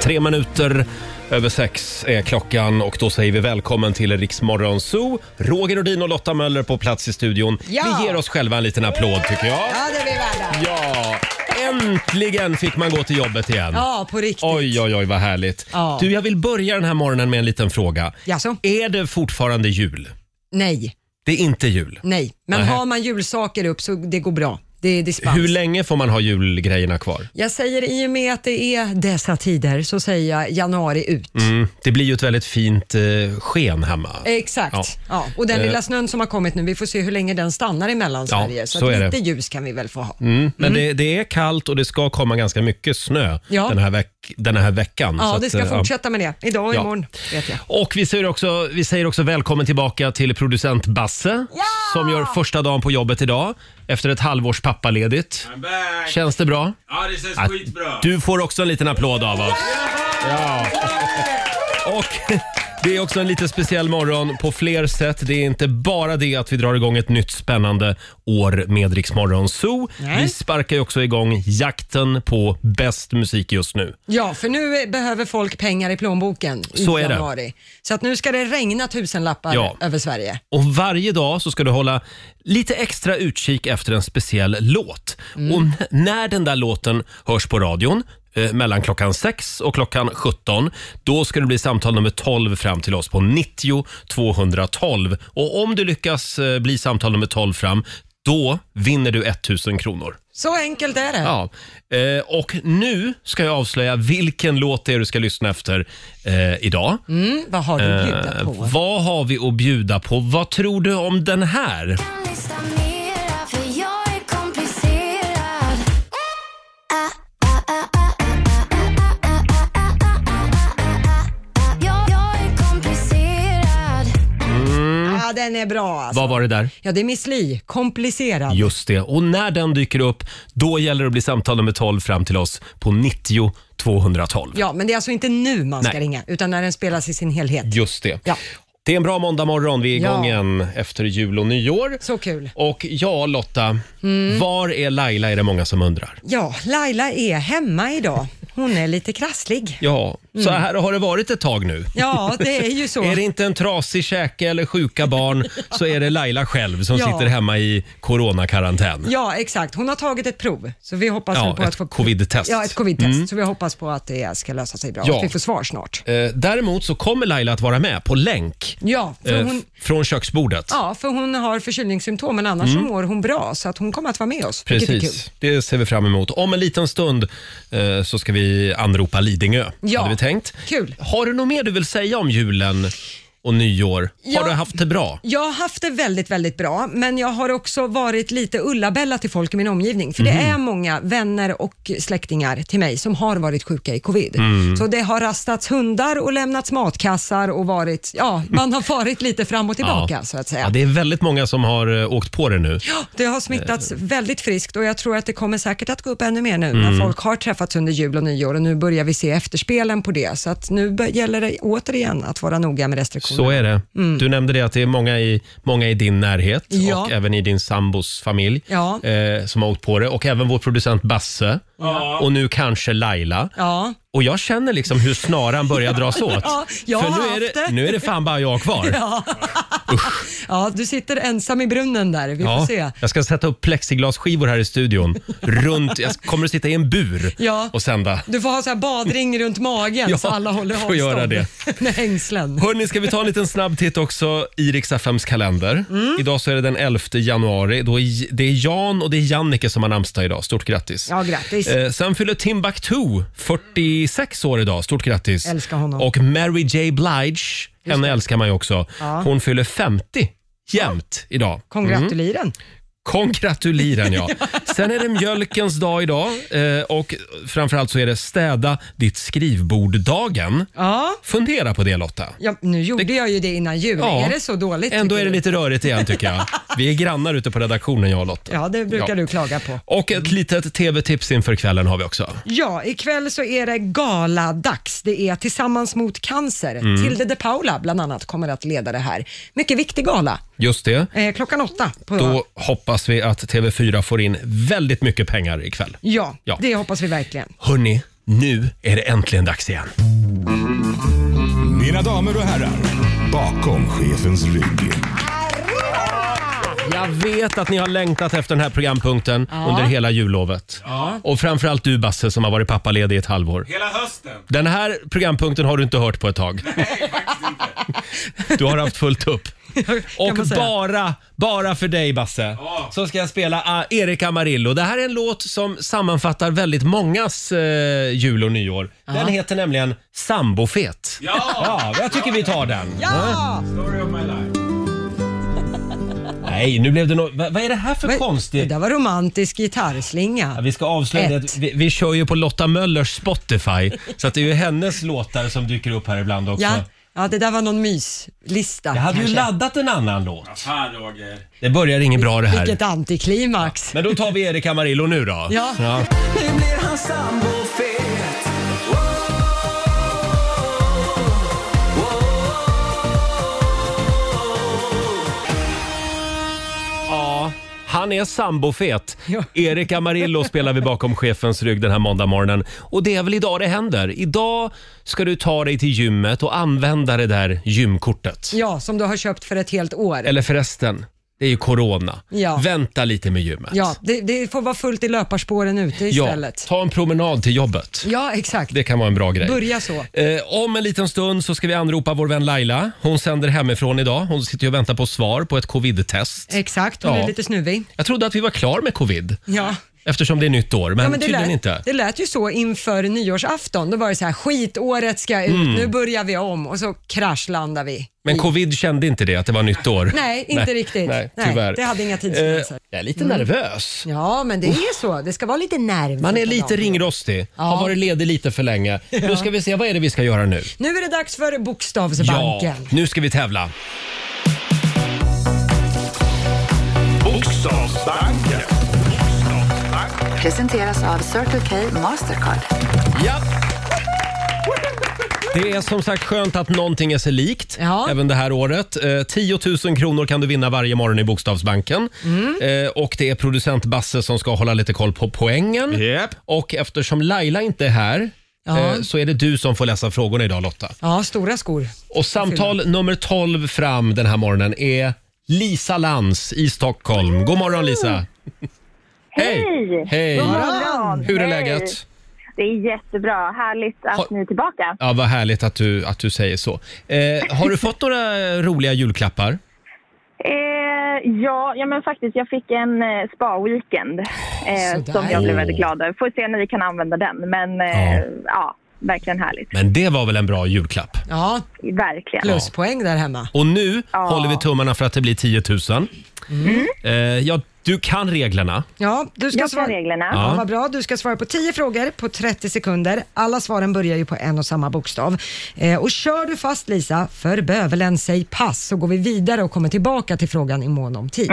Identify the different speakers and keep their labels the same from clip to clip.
Speaker 1: Tre minuter över sex är klockan och då säger vi välkommen till Riksmorgon Zoo. Roger Nordin och Lotta Möller på plats i studion.
Speaker 2: Ja.
Speaker 1: Vi ger oss själva en liten applåd tycker jag.
Speaker 2: Ja, det är vi värda.
Speaker 1: Ja, äntligen fick man gå till jobbet igen.
Speaker 2: Ja, på riktigt.
Speaker 1: Oj, oj, oj vad härligt.
Speaker 2: Ja.
Speaker 1: Du, jag vill börja den här morgonen med en liten fråga.
Speaker 2: Jaså?
Speaker 1: Är det fortfarande jul?
Speaker 2: Nej,
Speaker 1: Det är inte jul.
Speaker 2: nej. Men
Speaker 1: Nähä.
Speaker 2: har man julsaker upp så det går bra. Det är dispens.
Speaker 1: Hur länge får man ha julgrejerna kvar?
Speaker 2: jag säger i och med att det är dessa tider så säger jag januari ut.
Speaker 1: Mm, det blir ju ett väldigt fint eh, sken hemma.
Speaker 2: Exakt.
Speaker 1: Ja. Eh.
Speaker 2: Ja. Och den lilla snön som har kommit nu, vi får se hur länge den stannar i Mellansverige.
Speaker 1: Ja,
Speaker 2: så
Speaker 1: så
Speaker 2: att
Speaker 1: är det.
Speaker 2: lite ljus kan vi väl få ha.
Speaker 1: Mm, men det, det är kallt och det ska komma ganska mycket snö
Speaker 2: Ja.
Speaker 1: den, här veck, den här veckan.
Speaker 2: Ja,
Speaker 1: Så
Speaker 2: det
Speaker 1: att,
Speaker 2: ska
Speaker 1: eh, ja.
Speaker 2: fortsätta med det. Idag och
Speaker 1: Ja.
Speaker 2: imorgon vet jag.
Speaker 1: Och vi säger, också, vi säger också välkommen tillbaka till producent Basse som gör första dagen på jobbet idag efter ett halvårs pappaledigt.
Speaker 3: I'm back!
Speaker 1: Känns det bra?
Speaker 3: Ja, det känns skitbra.
Speaker 1: Du får också en liten applåd av oss. Ja. Och det är också en lite speciell morgon på fler sätt. Det är inte bara det att vi drar igång ett nytt spännande år med Rix Morgon Zoo.
Speaker 2: Nej.
Speaker 1: Vi sparkar ju också igång jakten på bäst musik just nu.
Speaker 2: Ja, för nu eh, behöver folk pengar i plånboken i
Speaker 1: Så är det.
Speaker 2: januari. Så att nu ska det regna tusenlappar
Speaker 1: Ja.
Speaker 2: över Sverige.
Speaker 1: Och varje dag så ska du hålla lite extra utkik efter en speciell låt. Och n- när den där låten hörs på radion eh, mellan klockan 6 och klockan 17. Då ska det bli samtal nummer 12 fram till oss på 90 212. Och om du lyckas eh, bli samtal nummer 12 fram, då vinner du 1000 kronor.
Speaker 2: Så enkelt är det.
Speaker 1: Ja. Eh, och nu ska jag avslöja vilken låt det är du ska lyssna efter eh, idag.
Speaker 2: Mm, vad har du att bjuda
Speaker 1: Eh,
Speaker 2: på?
Speaker 1: vad har vi att bjuda på? Vad tror du om den här?
Speaker 4: Lyssna mera, för jag är komplicerad. Jag- jag är komplicerad.
Speaker 2: Ja, den är bra alltså.
Speaker 1: Vad var det där?
Speaker 2: Ja, det är Miss Li. Komplicerad.
Speaker 1: Just det. Och när den dyker upp, då gäller det att bli samtal nummer 12 fram till oss på 90 212.
Speaker 2: Ja, men det är alltså inte nu man ska
Speaker 1: Nej.
Speaker 2: ringa, utan när den spelas i sin helhet.
Speaker 1: Just det.
Speaker 2: Ja.
Speaker 1: Det är en bra måndag morgon. Vi är igång
Speaker 2: Ja.
Speaker 1: igen efter jul och nyår.
Speaker 2: Så kul. Mm.
Speaker 1: Och ja, Lotta. Var är Laila, är det många som undrar.
Speaker 2: Ja, Laila är hemma idag. Hon är lite krasslig.
Speaker 1: Ja, så här har det varit ett tag nu.
Speaker 2: Mm. Ja, det är ju så.
Speaker 1: Är det inte en trasig käke eller sjuka barn så är det Laila själv som
Speaker 2: Ja.
Speaker 1: sitter hemma i coronakarantän.
Speaker 2: Ja, exakt. Hon har tagit ett prov. Så vi hoppas
Speaker 1: Ja,
Speaker 2: nu på
Speaker 1: ett
Speaker 2: att få...
Speaker 1: covid-test. Mm.
Speaker 2: Ja, ett covid-test. Så vi hoppas på att det ska lösa sig bra.
Speaker 1: Ja.
Speaker 2: Att vi får svar snart.
Speaker 1: Eh, Däremot så kommer Laila att vara med på länk
Speaker 2: Ja, för
Speaker 1: eh,
Speaker 2: hon...
Speaker 1: f- från köksbordet.
Speaker 2: Ja, för hon har förkylningssymptom men annars så mår hon bra så att hon kommer att vara med oss. vilket är kul.
Speaker 1: Mm. Precis, det ser vi fram emot. Om en liten stund eh, så ska vi anropa Lidingö,
Speaker 2: Ja.
Speaker 1: hade vi tänkt.
Speaker 2: Kul.
Speaker 1: Har du något mer du vill säga om julen och nyår?
Speaker 2: Ja.
Speaker 1: Har du haft det bra?
Speaker 2: Jag har haft det väldigt, väldigt bra, men jag har också varit lite Ulla-Bella till folk i min omgivning. För
Speaker 1: Mhm.
Speaker 2: det är många vänner och släktingar till mig som har varit sjuka i covid.
Speaker 1: Mm.
Speaker 2: Så det har rastats hundar och lämnats matkassar och varit, ja, man har farit lite fram och tillbaka så att säga.
Speaker 1: Ja,
Speaker 2: det...
Speaker 1: det är väldigt många som har eh, åkt på det nu.
Speaker 2: har smittats väldigt friskt och jag tror att det kommer säkert att gå upp ännu mer nu
Speaker 1: Mm.
Speaker 2: när folk har träffats under jul och nyår och nu börjar vi se efterspelen på det. Så att nu bör- gäller det återigen att vara noga med restriktioner.
Speaker 1: Så är det. Du nämnde det att det är många i, många i din närhet
Speaker 2: Mm. Ja.
Speaker 1: och även i din sambos familj
Speaker 2: Ja.
Speaker 1: eh, som har åkt på det. Och även vår producent Basse och nu kanske Laila.
Speaker 2: Ja.
Speaker 1: Och jag känner liksom hur snaran börjar dras åt.
Speaker 2: Ja, jag
Speaker 1: För
Speaker 2: har
Speaker 1: nu är,
Speaker 2: haft
Speaker 1: det,
Speaker 2: det.
Speaker 1: nu är det fan bara jag kvar.
Speaker 2: Ja. ja, du sitter ensam i brunnen där. Vi får se.
Speaker 1: jag ska sätta upp plexiglasskivor här i studion. Runt, jag kommer att sitta i en bur
Speaker 2: Ja.
Speaker 1: och sända.
Speaker 2: Du får ha så här badring runt magen
Speaker 1: Ja,
Speaker 2: så alla håller
Speaker 1: får
Speaker 2: avstånd.
Speaker 1: göra det.
Speaker 2: Med hängslen.
Speaker 1: Hörni, ska vi ta en liten snabb titt också i Rix FMs kalender.
Speaker 2: Mm.
Speaker 1: Idag så är det den 11 januari. Då är, J- det är Jan och det är Jannike som har namnsdag idag. Stort grattis.
Speaker 2: Ja, grattis.
Speaker 1: Eh, sen fyller Timbuktu 46 år idag. Stort grattis.
Speaker 2: Älskar honom.
Speaker 1: Och Mary J Blige, henne älskar man ju också. Hon fyller 50 jämt idag.
Speaker 2: Kongratuliren.
Speaker 1: mm. Kongratuliren ja. Sen är det mjölkens dag idag eh, och framförallt så är det städa ditt skrivbord-dagen.
Speaker 2: Ja.
Speaker 1: Fundera på det Lotta.
Speaker 2: ja, nu gjorde jag ju det innan jul.
Speaker 1: Ja.
Speaker 2: Är det så dåligt?
Speaker 1: Ändå
Speaker 2: tycker
Speaker 1: är det
Speaker 2: du?
Speaker 1: lite rörigt igen tycker jag. Vi är grannar ute på redaktionen jag och Lotta.
Speaker 2: Ja, det brukar
Speaker 1: Ja.
Speaker 2: du klaga på.
Speaker 1: Och ett litet tv-tips inför kvällen har vi också.
Speaker 2: Ja, ikväll så är det galadags. Det är Tillsammans mot cancer.
Speaker 1: Mm.
Speaker 2: Tilde de Paula bland annat kommer att leda det här. Mycket viktig gala.
Speaker 1: Just det.
Speaker 2: Eh, klockan åtta. På,
Speaker 1: Då hoppas vi att TV4 får in väldigt mycket pengar ikväll.
Speaker 2: ja,
Speaker 1: Ja.
Speaker 2: det hoppas vi verkligen.
Speaker 1: Hörni, Nu är det äntligen dags igen.
Speaker 3: Mina damer och herrar, bakom chefens rygg.
Speaker 1: Jag vet att ni har längtat efter den här programpunkten under hela jullovet. Och framförallt du Basse som har varit pappaledig i ett halvår.
Speaker 5: Hela hösten.
Speaker 1: Den här programpunkten har du inte hört på ett tag. Du har haft fullt upp. Och
Speaker 2: Kan man säga.
Speaker 1: bara, bara för dig Basse, så ska jag spela ah, Erik Amarillo. Det här är en låt som sammanfattar väldigt mångas eh, jul och nyår. Den heter nämligen Sambofet.
Speaker 5: Ja!
Speaker 1: Ja, jag tycker vi tar den.
Speaker 2: Ja!
Speaker 5: Story of my life.
Speaker 1: Nej, nu blev det no- Va- Vad är det här för
Speaker 2: Vad- Det
Speaker 1: konstigt?
Speaker 2: där var romantisk
Speaker 1: Ja,
Speaker 2: gitarrslinga.
Speaker 1: Vi ska avslöja det att vi, vi kör ju på Lotta Möllers Spotify. så att det är ju hennes låtar som dyker upp här ibland också.
Speaker 2: Ja, ja det där var någon myslista.
Speaker 1: Jag hade ju
Speaker 2: kanske.
Speaker 1: laddat en annan låt.
Speaker 5: Fan Roger.
Speaker 1: Det börjar inget bra det här.
Speaker 2: Vilket antiklimax.
Speaker 1: Men då tar vi Erik Amarillo nu då.
Speaker 2: Ja.
Speaker 6: Nu blir han sambofet
Speaker 1: Ja, Han är sambofet. Erik Amarillo spelar vi bakom chefens rygg den här måndagmorgonen. Och det är väl idag det händer. Idag ska du ta dig till gymmet och använda det där gymkortet.
Speaker 2: Ja, som du har köpt för ett helt år.
Speaker 1: Eller förresten, det är ju corona.
Speaker 2: Ja.
Speaker 1: Vänta lite med gymmet.
Speaker 2: Ja, det, det får vara fullt i löparspåren ute istället.
Speaker 1: ta en promenad till jobbet.
Speaker 2: Ja, exakt.
Speaker 1: Det kan vara en bra grej.
Speaker 2: Börja så.
Speaker 1: Eh, om en liten stund så ska vi anropa vår vän Laila. Hon sänder hemifrån idag. Hon sitter ju och väntar på svar på ett covid-test.
Speaker 2: Exakt, hon
Speaker 1: Ja.
Speaker 2: är lite snuvig.
Speaker 1: Jag trodde att vi var klar med covid
Speaker 2: Ja.
Speaker 1: eftersom det är nytt år, men,
Speaker 2: Ja, men det,
Speaker 1: tydligen
Speaker 2: lät,
Speaker 1: inte.
Speaker 2: det lät ju så inför nyårsafton. Då var det så här, skitåret ska ut,
Speaker 1: Mm.
Speaker 2: nu börjar vi om och så kraschlandar vi.
Speaker 1: Men covid kände inte det, att det var nytt år.
Speaker 2: Nej, inte riktigt.
Speaker 1: Nej,
Speaker 2: Nej,
Speaker 1: tyvärr. Eh,
Speaker 2: det hade inga tidsgränser. Mm.
Speaker 1: jag är lite nervös.
Speaker 2: Ja, men det är så. Det ska vara lite nerv.
Speaker 1: Man är lite ringrostig, har varit ledig lite för länge. Nu ska vi se, vad är det vi ska göra nu?
Speaker 2: Nu är det dags för Bokstavsbanken.
Speaker 1: Ja, nu ska vi tävla.
Speaker 3: Bokstavsbanken.
Speaker 7: Presenteras av Circle K Mastercard.
Speaker 1: Ja. Det är som sagt skönt att någonting är sig likt
Speaker 2: Ja.
Speaker 1: även det här året. Eh, 10 000 kronor kan du vinna varje morgon i Bokstavsbanken. Eh, och det är producent Basse som ska hålla lite koll på poängen.
Speaker 5: Japp.
Speaker 1: Och eftersom Laila inte är här
Speaker 2: Ja.
Speaker 1: eh, så är det du som får läsa frågorna idag Lotta.
Speaker 2: Ja, stora skor.
Speaker 1: Och samtal nummer 12 fram den här morgonen är Lisa Lantz i Stockholm. God morgon Lisa! Hej! Hej!
Speaker 8: morgon.
Speaker 1: Hur är
Speaker 8: Hej.
Speaker 1: läget?
Speaker 8: Det är jättebra. Härligt att
Speaker 1: Har-
Speaker 8: ni är tillbaka.
Speaker 1: Ja, vad härligt att du, att du säger så. Eh, har du fått några roliga julklappar?
Speaker 8: Eh, ja, ja, men faktiskt. Jag fick en eh, spa-weekend eh,
Speaker 2: sådär.
Speaker 8: som jag blev
Speaker 1: Åh.
Speaker 8: väldigt glad över. Får se när vi kan använda den. Men eh,
Speaker 1: Ja.
Speaker 8: ja. verkligen härligt.
Speaker 1: Men det var väl en bra julklapp?
Speaker 2: Ja,
Speaker 8: Verkligen.
Speaker 2: pluspoäng där hemma.
Speaker 1: Och nu
Speaker 8: Ja. Mm.
Speaker 1: håller vi tummarna för att det blir 10 000. Eh, ja, du kan reglerna.
Speaker 2: Ja, du ska
Speaker 8: Jag
Speaker 2: svara...
Speaker 8: kan reglerna.
Speaker 1: Ja.
Speaker 2: Ja, vad bra. Du ska svara på 10 frågor på 30 sekunder. Alla svaren börjar ju på en och samma bokstav. Eh, och kör du fast Lisa, för bövelen säg pass, så går vi vidare och kommer tillbaka till frågan i mån om tid.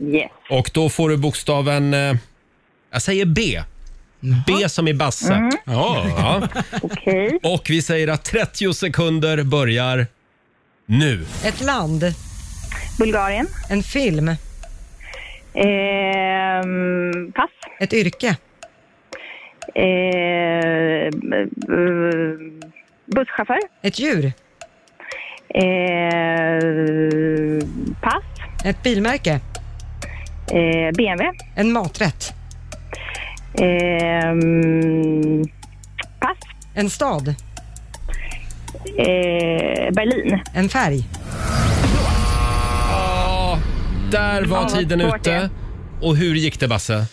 Speaker 8: Yes.
Speaker 1: Och då får du bokstaven... Eh, jag säger B. B som i Basse.
Speaker 8: Mm.
Speaker 1: Ja.
Speaker 8: Okej.
Speaker 1: Och vi säger att 30 sekunder börjar nu.
Speaker 2: Ett land,
Speaker 8: Bulgarien.
Speaker 2: en film,
Speaker 8: Ehm, pass.
Speaker 2: ett yrke,
Speaker 8: Ehm, b- b- busschaufför.
Speaker 2: ett djur,
Speaker 8: Ehm, pass.
Speaker 2: ett bilmärke,
Speaker 8: Ehm, BMW.
Speaker 2: en maträtt,
Speaker 8: Ehm, pass.
Speaker 2: en stad,
Speaker 8: Eh, Berlin.
Speaker 2: en färg.
Speaker 1: Ja, där var
Speaker 8: vad
Speaker 1: tiden
Speaker 8: svårt det
Speaker 1: ute.
Speaker 8: är.
Speaker 1: Och hur gick det Basse?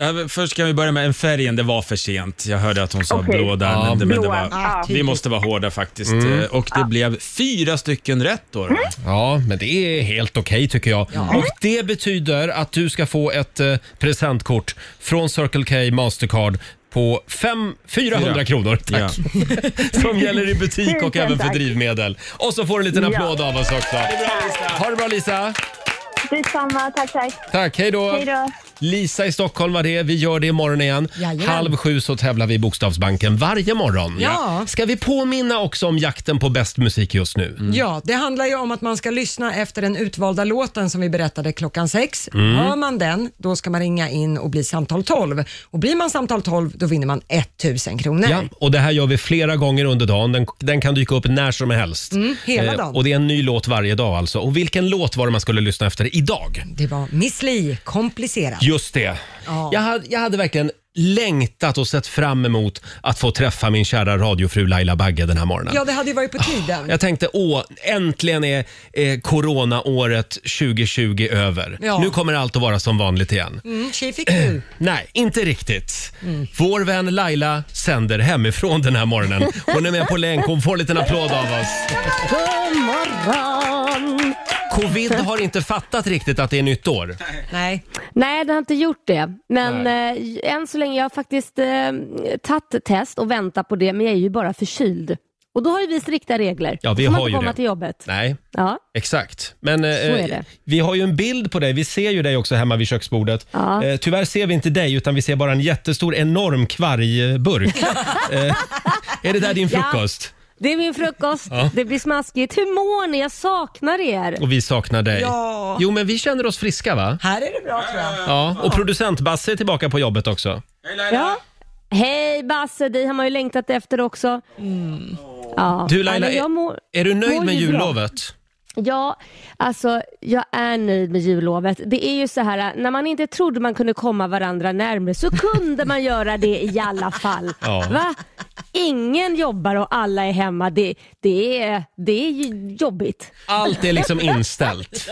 Speaker 5: Ja, men först kan vi börja med en färgen. Det var för sent. Jag hörde att hon sa
Speaker 8: Okej.
Speaker 5: blå där. Men det, men det
Speaker 8: Blå. Ah,
Speaker 5: var,
Speaker 8: Ja.
Speaker 5: vi måste vara hårda faktiskt. Eh, Och det blev fyra stycken rätt då. då.
Speaker 1: Ja, men det är helt okej tycker jag. Och det betyder att du ska få ett eh, presentkort från Circle K Mastercard på fem, 400
Speaker 5: Fyra.
Speaker 1: kronor tack,
Speaker 5: Ja.
Speaker 1: som gäller i butik och
Speaker 8: Tusen
Speaker 1: även för
Speaker 8: tack.
Speaker 1: drivmedel. Och så får du en liten
Speaker 8: Ja.
Speaker 1: applåd av oss också. Ha det bra Lisa!
Speaker 8: Detsamma. Tack, tack.
Speaker 1: Tack, hej då!
Speaker 8: Hej då.
Speaker 1: Lisa i Stockholm var det. Vi gör det imorgon igen.
Speaker 2: Jajamän.
Speaker 1: Halv sju så tävlar vi i Bokstavsbanken varje morgon.
Speaker 2: Ja.
Speaker 1: Ska vi påminna också om jakten på bäst musik just nu?
Speaker 2: Ja, det handlar ju om att man ska lyssna efter den utvalda låten som vi berättade klockan sex. Hör man den, då ska man ringa in och bli samtal 12. Och blir man samtal 12, då vinner man 1000 kronor.
Speaker 1: Ja, och det här gör vi flera gånger under dagen. Den, den kan dyka upp när som helst.
Speaker 2: Mm,
Speaker 1: Eh,
Speaker 2: hela dagen.
Speaker 1: och det är en ny låt varje dag alltså. Och vilken låt var det man skulle lyssna efter idag?
Speaker 2: Det var Miss Li, komplicerat.
Speaker 1: Just det.
Speaker 2: Ja.
Speaker 1: Jag, hade, jag hade verkligen längtat och sett fram emot att få träffa min kära radiofru Laila Bagge den här morgonen.
Speaker 2: Ja, det hade ju varit på tiden.
Speaker 1: Jag tänkte, åh, äntligen är eh, coronaåret 2020 över.
Speaker 2: Ja.
Speaker 1: Nu kommer allt att vara som vanligt igen.
Speaker 2: Mm, tji fick du.
Speaker 1: Nej, inte riktigt. Vår vän Laila sänder hemifrån den här morgonen. Hon är med på länk, hon får en liten applåd av oss.
Speaker 2: God morgon!
Speaker 1: Covid har inte fattat riktigt att det är nytt år.
Speaker 2: Nej,
Speaker 9: Nej, den har inte gjort det. Men eh, än så länge, jag har faktiskt eh, tagit test och väntar på det, men jag är ju bara förkyld. Och då har ju vi strikta regler.
Speaker 1: Ja, vi
Speaker 9: Får man
Speaker 1: har
Speaker 9: inte
Speaker 1: ju
Speaker 9: komma
Speaker 1: det.
Speaker 9: till jobbet.
Speaker 1: Nej,
Speaker 9: Ja.
Speaker 1: exakt. Men eh,
Speaker 9: är det.
Speaker 1: vi har ju en bild på dig. Vi ser ju dig också hemma vid köksbordet.
Speaker 9: Ja.
Speaker 1: Eh, tyvärr ser vi inte dig, utan vi ser bara en jättestor, enorm kvargburk. eh, är det där din
Speaker 9: Ja.
Speaker 1: frukost?
Speaker 9: Det är min frukost,
Speaker 1: Ja.
Speaker 9: det blir smaskigt. Hur mår ni? Jag saknar er.
Speaker 1: Och vi saknar dig.
Speaker 2: Ja.
Speaker 1: Jo, men vi känner oss friska, va?
Speaker 2: här är det bra tror jag.
Speaker 1: Ja, och producent Basse är tillbaka på jobbet också.
Speaker 5: Hej Laila!
Speaker 9: Ja. Hej Basse, dig har man ju längtat efter också. Ja.
Speaker 1: Mm. Du Laila,
Speaker 9: Nej, men jag
Speaker 1: är,
Speaker 9: mår,
Speaker 1: är du nöjd
Speaker 9: mår
Speaker 1: med
Speaker 9: ju bra.
Speaker 1: jullovet?
Speaker 9: Ja, alltså jag är nöjd med jullovet. Det är ju så här, när man inte trodde man kunde komma varandra närmare så kunde man göra det i alla fall.
Speaker 1: Ja.
Speaker 9: Va? Ingen jobbar och alla är hemma. Det, det, är, det är ju jobbigt.
Speaker 1: Allt är liksom inställt.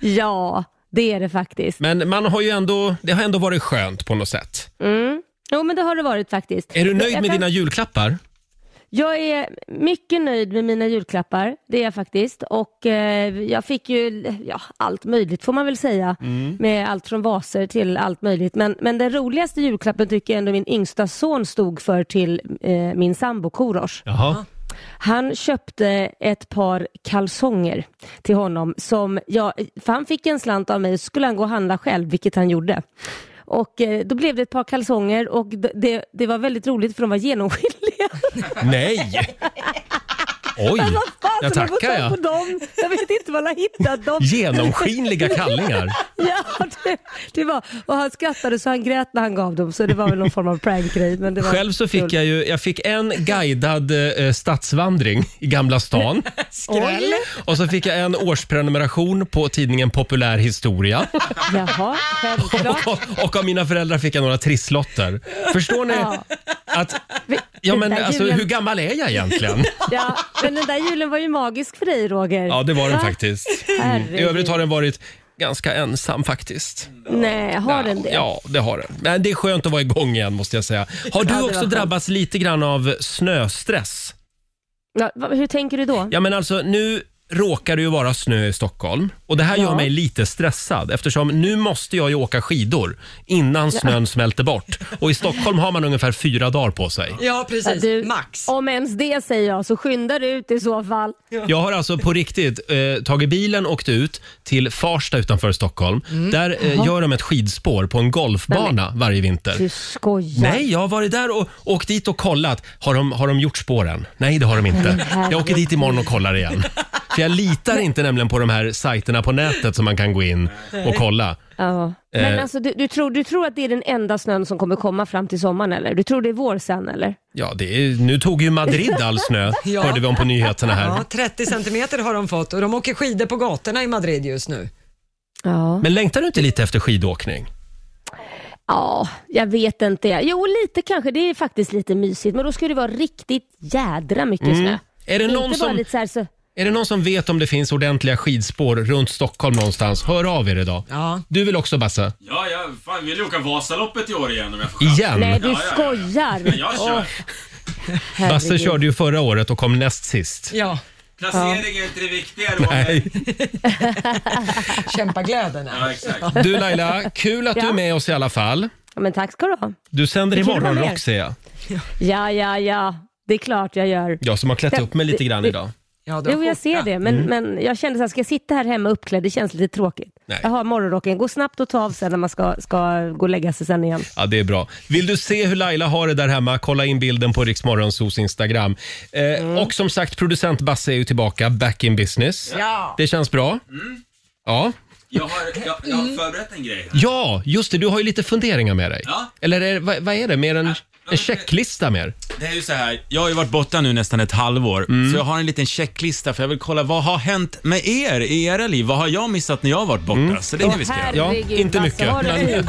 Speaker 9: Ja, det är det faktiskt.
Speaker 1: Men man har ju ändå, det har ändå varit skönt på något sätt.
Speaker 9: Mm. Jo, men det har det varit faktiskt.
Speaker 1: Är du nöjd
Speaker 9: Jag
Speaker 1: med
Speaker 9: kan-
Speaker 1: dina julklappar?
Speaker 9: Jag är mycket nöjd med mina julklappar, det är jag faktiskt. Och eh, jag fick ju ja, allt möjligt får man väl säga. Med allt från vaser till allt möjligt. Men, men den roligaste julklappen tycker jag ändå min yngsta son stod för till eh, min sambo Korosh.
Speaker 1: Jaha.
Speaker 9: Han köpte ett par kalsonger till honom. Som jag, för han fick en slant av mig så skulle han gå och handla själv, vilket han gjorde. Och eh, Då blev det ett par kalsonger och d- det, det var väldigt roligt för de var genomskinliga.
Speaker 1: Nej! Oj,
Speaker 9: Men vad fan
Speaker 1: jag
Speaker 9: ska man få
Speaker 1: tackar
Speaker 9: tag på
Speaker 1: jag.
Speaker 9: dem? Jag vet inte var han har hittat dem.
Speaker 1: Genomskinliga kallingar.
Speaker 9: Ja, det, det var. Och han skrattade så han grät när han gav dem, så det var väl någon form av prankgrej. Men det var
Speaker 1: Själv så fick
Speaker 9: kul.
Speaker 1: jag ju, jag fick en guidad eh, stadsvandring i Gamla stan.
Speaker 2: Skräll.
Speaker 1: Och så fick jag en årsprenumeration på tidningen Populär historia.
Speaker 9: Jaha, självklart.
Speaker 1: Och, och av mina föräldrar fick jag några trisslotter. Förstår ni
Speaker 9: Ja.
Speaker 1: att... Ja, men
Speaker 9: Den där
Speaker 1: alltså,
Speaker 9: julen-
Speaker 1: hur gammal är jag egentligen?
Speaker 9: Ja, men den där julen var ju magisk för dig Roger.
Speaker 1: Ja, det var den
Speaker 9: Va?
Speaker 1: faktiskt.
Speaker 9: Herregud.
Speaker 1: I övrigt har den varit ganska ensam faktiskt.
Speaker 9: Nej, har
Speaker 1: Ja,
Speaker 9: den det?
Speaker 1: Ja, det har den. Men det är skönt att vara igång igen måste jag säga. Har du
Speaker 9: det var
Speaker 1: också
Speaker 9: skönt.
Speaker 1: drabbats lite grann av snöstress?
Speaker 9: Ja, va- hur tänker du då?
Speaker 1: Ja, men alltså nu råkar det ju vara snö i Stockholm och det här gör
Speaker 9: Ja.
Speaker 1: mig lite stressad eftersom nu måste jag ju åka skidor innan snön smälter bort. Och i Stockholm har man ungefär fyra dagar på sig.
Speaker 2: Ja,
Speaker 9: Ja,
Speaker 2: precis.
Speaker 9: du,
Speaker 2: Max.
Speaker 9: Om ens det säger jag, så skynda dig ut i så fall.
Speaker 1: Jag har alltså på riktigt eh, tagit bilen och åkt ut till Farsta utanför Stockholm.
Speaker 2: Mm.
Speaker 1: Där eh, gör de ett skidspår på en golfbana varje vinter.
Speaker 9: Du skojar.
Speaker 1: Nej, jag har varit där och åkt dit och kollat. Har de, har de gjort spåren? Nej, det har de inte.
Speaker 9: herregud.
Speaker 1: Jag åker dit imorgon och kollar igen. För jag litar inte nämligen på de här sajterna på nätet som man kan gå in och kolla.
Speaker 9: Ja. Men
Speaker 1: Eh.
Speaker 9: alltså, du, du, tror, du tror att det är den enda snön som kommer komma fram till sommaren eller? Du tror det är vår sen eller?
Speaker 1: Ja, det är, nu tog ju Madrid all snö,
Speaker 2: Ja.
Speaker 1: hörde vi om på nyheterna här.
Speaker 2: Ja, 30 centimeter har de fått och de åker skidor på gatorna i Madrid just nu.
Speaker 9: Ja.
Speaker 1: Men längtar du inte lite efter skidåkning?
Speaker 9: ja, jag vet inte. Jo, lite kanske. Det är faktiskt lite mysigt. Men då ska det vara riktigt jädra mycket snö.
Speaker 1: Mm. Är det, någon
Speaker 9: inte bara
Speaker 1: som,
Speaker 9: lite så här så...
Speaker 1: är det någon som vet om det finns ordentliga skidspår runt Stockholm någonstans? Hör av er idag.
Speaker 2: Ja.
Speaker 1: Du vill också Basse?
Speaker 5: Ja, jag fan, vill åka Vasaloppet i år igen om jag får chansen.
Speaker 1: Igen?
Speaker 9: Nej, du
Speaker 5: Ja, ja, ja.
Speaker 9: skojar.
Speaker 5: Men jag kör.
Speaker 9: Åh,
Speaker 1: Basse
Speaker 9: herregud.
Speaker 1: körde ju förra året och kom näst sist.
Speaker 2: Ja,
Speaker 5: Placering är inte det viktiga Roger.
Speaker 1: Nej.
Speaker 2: kämpa glöderna.
Speaker 5: Ja, exakt.
Speaker 1: Du Laila, kul att du är
Speaker 9: Ja.
Speaker 1: med oss i alla fall.
Speaker 9: Ja, men tack ska du ha.
Speaker 1: Du sänder
Speaker 9: Det är kul att vara
Speaker 1: imorgon
Speaker 9: med.
Speaker 1: rock ser jag.
Speaker 9: Ja, ja, ja. Det är klart jag gör.
Speaker 1: Jag som har klätt
Speaker 9: Det-
Speaker 1: upp mig lite
Speaker 9: det-
Speaker 1: grann
Speaker 9: det-
Speaker 1: idag.
Speaker 2: Ja, du har
Speaker 9: Jo, jag
Speaker 2: skjorta.
Speaker 1: Mm.
Speaker 9: ser det. Men, men jag kände att ska jag sitta här hemma uppklädd? Det känns lite tråkigt.
Speaker 1: Nej.
Speaker 9: Jag har morgonrocken. Gå snabbt och ta av sen när man ska, ska gå och lägga sig sen igen.
Speaker 1: Ja, det är bra. Vill du se hur Laila har det där hemma, kolla in bilden på Riksmorgonsos Instagram. Eh,
Speaker 9: Mm.
Speaker 1: Och som sagt, producent Basse är ju tillbaka, back in business.
Speaker 2: Ja.
Speaker 1: Det känns bra.
Speaker 9: Mm.
Speaker 1: Ja.
Speaker 5: Jag har, jag, jag har förberett en grej.
Speaker 1: ja, just det. Du har ju lite funderingar med dig.
Speaker 5: Ja.
Speaker 1: Eller är, vad, vad är det? Mer en, en
Speaker 5: det-
Speaker 1: checklista mer?
Speaker 5: Det är ju så här, jag har ju varit borta nu nästan ett halvår,
Speaker 1: Mm.
Speaker 5: så jag har en liten checklista för jag vill kolla vad har hänt med er i era liv? Vad har jag missat när jag har varit borta? Så det är det vi ska göra.
Speaker 1: Mm. Ja,
Speaker 9: Herregud,
Speaker 1: inte
Speaker 9: Basse,
Speaker 1: mycket,
Speaker 9: har du
Speaker 1: men-
Speaker 9: tid?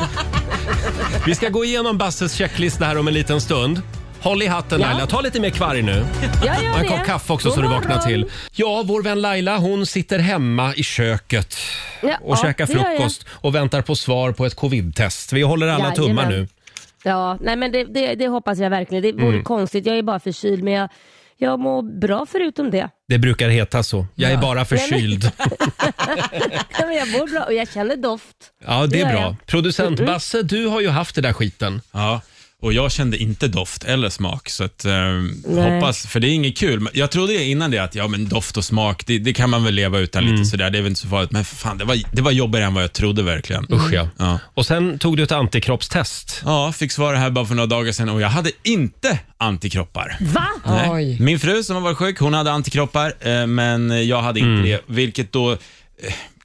Speaker 1: Vi ska gå igenom Basses checklista här om en liten stund. Håll i hatten
Speaker 9: Ja.
Speaker 1: Laila, ta lite mer kvarg nu.
Speaker 9: Jag gör
Speaker 1: Och en kopp
Speaker 9: det.
Speaker 1: kaffe också
Speaker 9: God
Speaker 1: så du vaknar
Speaker 9: morgon.
Speaker 1: till. Ja, vår vän Laila hon sitter hemma i köket
Speaker 9: Ja,
Speaker 1: och
Speaker 9: ja,
Speaker 1: käkar
Speaker 9: det gör jag.
Speaker 1: frukost och väntar på svar på ett covid-test. Vi håller alla tummar nu. Mm.
Speaker 9: Jajamän. Ja, nej men det, det, det hoppas jag verkligen. Det vore konstigt, jag är bara förkyld men jag, jag mår bra förutom det.
Speaker 1: Det brukar heta så. Jag är bara förkyld.
Speaker 9: Nej, men jag mår bra och jag känner doft.
Speaker 1: Ja, det
Speaker 9: Det
Speaker 1: är
Speaker 9: gör
Speaker 1: bra.
Speaker 9: jag. Mm.
Speaker 1: Producent Basse, du har ju haft det där skiten.
Speaker 5: Ja, och jag kände inte doft eller smak, så att, eh,
Speaker 9: Nej.
Speaker 5: hoppas, för det är inget kul. Men Jag trodde innan det att ja, men doft och smak, det, det kan man väl leva utan
Speaker 1: Mm.
Speaker 5: lite sådär, det är väl inte så farligt. Men fan, det var, det var jobbigare än vad jag trodde verkligen.
Speaker 1: Usch ja.
Speaker 5: Mm. Ja.
Speaker 1: Och sen tog du ett antikroppstest.
Speaker 5: Ja, fick svar här bara för några dagar sedan och jag hade inte antikroppar.
Speaker 9: Va?
Speaker 5: Nej.
Speaker 2: Oj.
Speaker 5: Min fru som har varit sjuk, hon hade antikroppar, eh, men jag hade
Speaker 1: Mm.
Speaker 5: inte det, vilket då eh,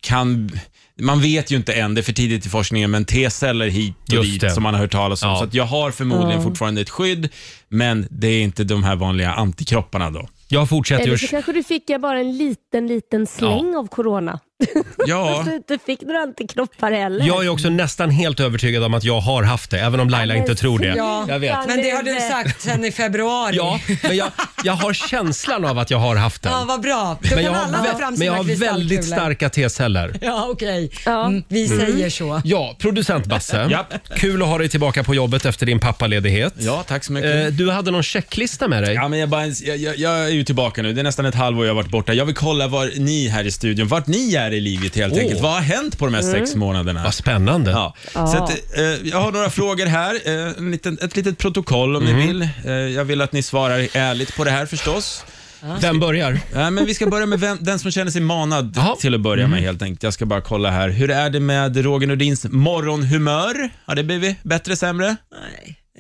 Speaker 5: kan... Man vet ju inte än, det är för tidigt i forskningen, men T-celler hit och
Speaker 1: Just
Speaker 5: dit
Speaker 1: det.
Speaker 5: som man har hört talas om.
Speaker 1: Ja.
Speaker 5: Så att jag har förmodligen fortfarande ett skydd, men det är inte de här vanliga antikropparna då.
Speaker 1: Jag fortsätter
Speaker 9: Eller
Speaker 1: ju...
Speaker 9: så kanske du fick jag bara en liten, liten släng av corona.
Speaker 5: Ja,
Speaker 9: Fast du inte fick några antikroppar heller.
Speaker 1: Jag är också nästan helt övertygad om att jag har haft det, även om Laila
Speaker 9: Men
Speaker 1: inte tror det.
Speaker 9: sluta
Speaker 1: Jag vet.
Speaker 2: Men det har
Speaker 9: nu.
Speaker 2: du sagt sedan i februari.
Speaker 1: Ja, men jag, jag har känslan av att jag har haft den.
Speaker 2: Ja, vad bra. Då
Speaker 1: Mm. Men
Speaker 2: kan
Speaker 1: jag
Speaker 2: alla
Speaker 1: har,
Speaker 2: ta fram
Speaker 1: men jag
Speaker 2: sina
Speaker 1: har väldigt
Speaker 2: kristallkulor.
Speaker 1: starka T-celler.
Speaker 2: Ja, okej.
Speaker 9: Ja.
Speaker 2: Mm, vi säger så.
Speaker 1: Ja, producent Basse.
Speaker 5: Japp.
Speaker 1: Kul att ha dig tillbaka på jobbet efter din pappaledighet.
Speaker 5: ja tack så mycket.
Speaker 1: Eh, Du hade någon checklista med dig.
Speaker 5: Ja, men jag, bara, jag, jag, jag är ju tillbaka nu. Det är nästan ett halvår jag har varit borta. Jag vill kolla var ni här i studion, vart ni är i livet helt
Speaker 1: Åh.
Speaker 5: enkelt. Vad har hänt på de här sex månaderna?
Speaker 1: Vad spännande.
Speaker 5: Ja. Så att, eh, jag har några frågor här. Eh, en liten, ett litet protokoll om
Speaker 1: Mm.
Speaker 5: ni vill. Eh, jag vill att ni svarar ärligt på det här förstås.
Speaker 1: Vem börjar?
Speaker 5: Eh, men vi ska börja med vem, den som känner sig manad
Speaker 1: Jaha. Mm.
Speaker 5: till att börja med helt enkelt. Jag ska bara kolla här. Hur är det med Roger Nordins morgonhumör? Har det blivit bättre, sämre?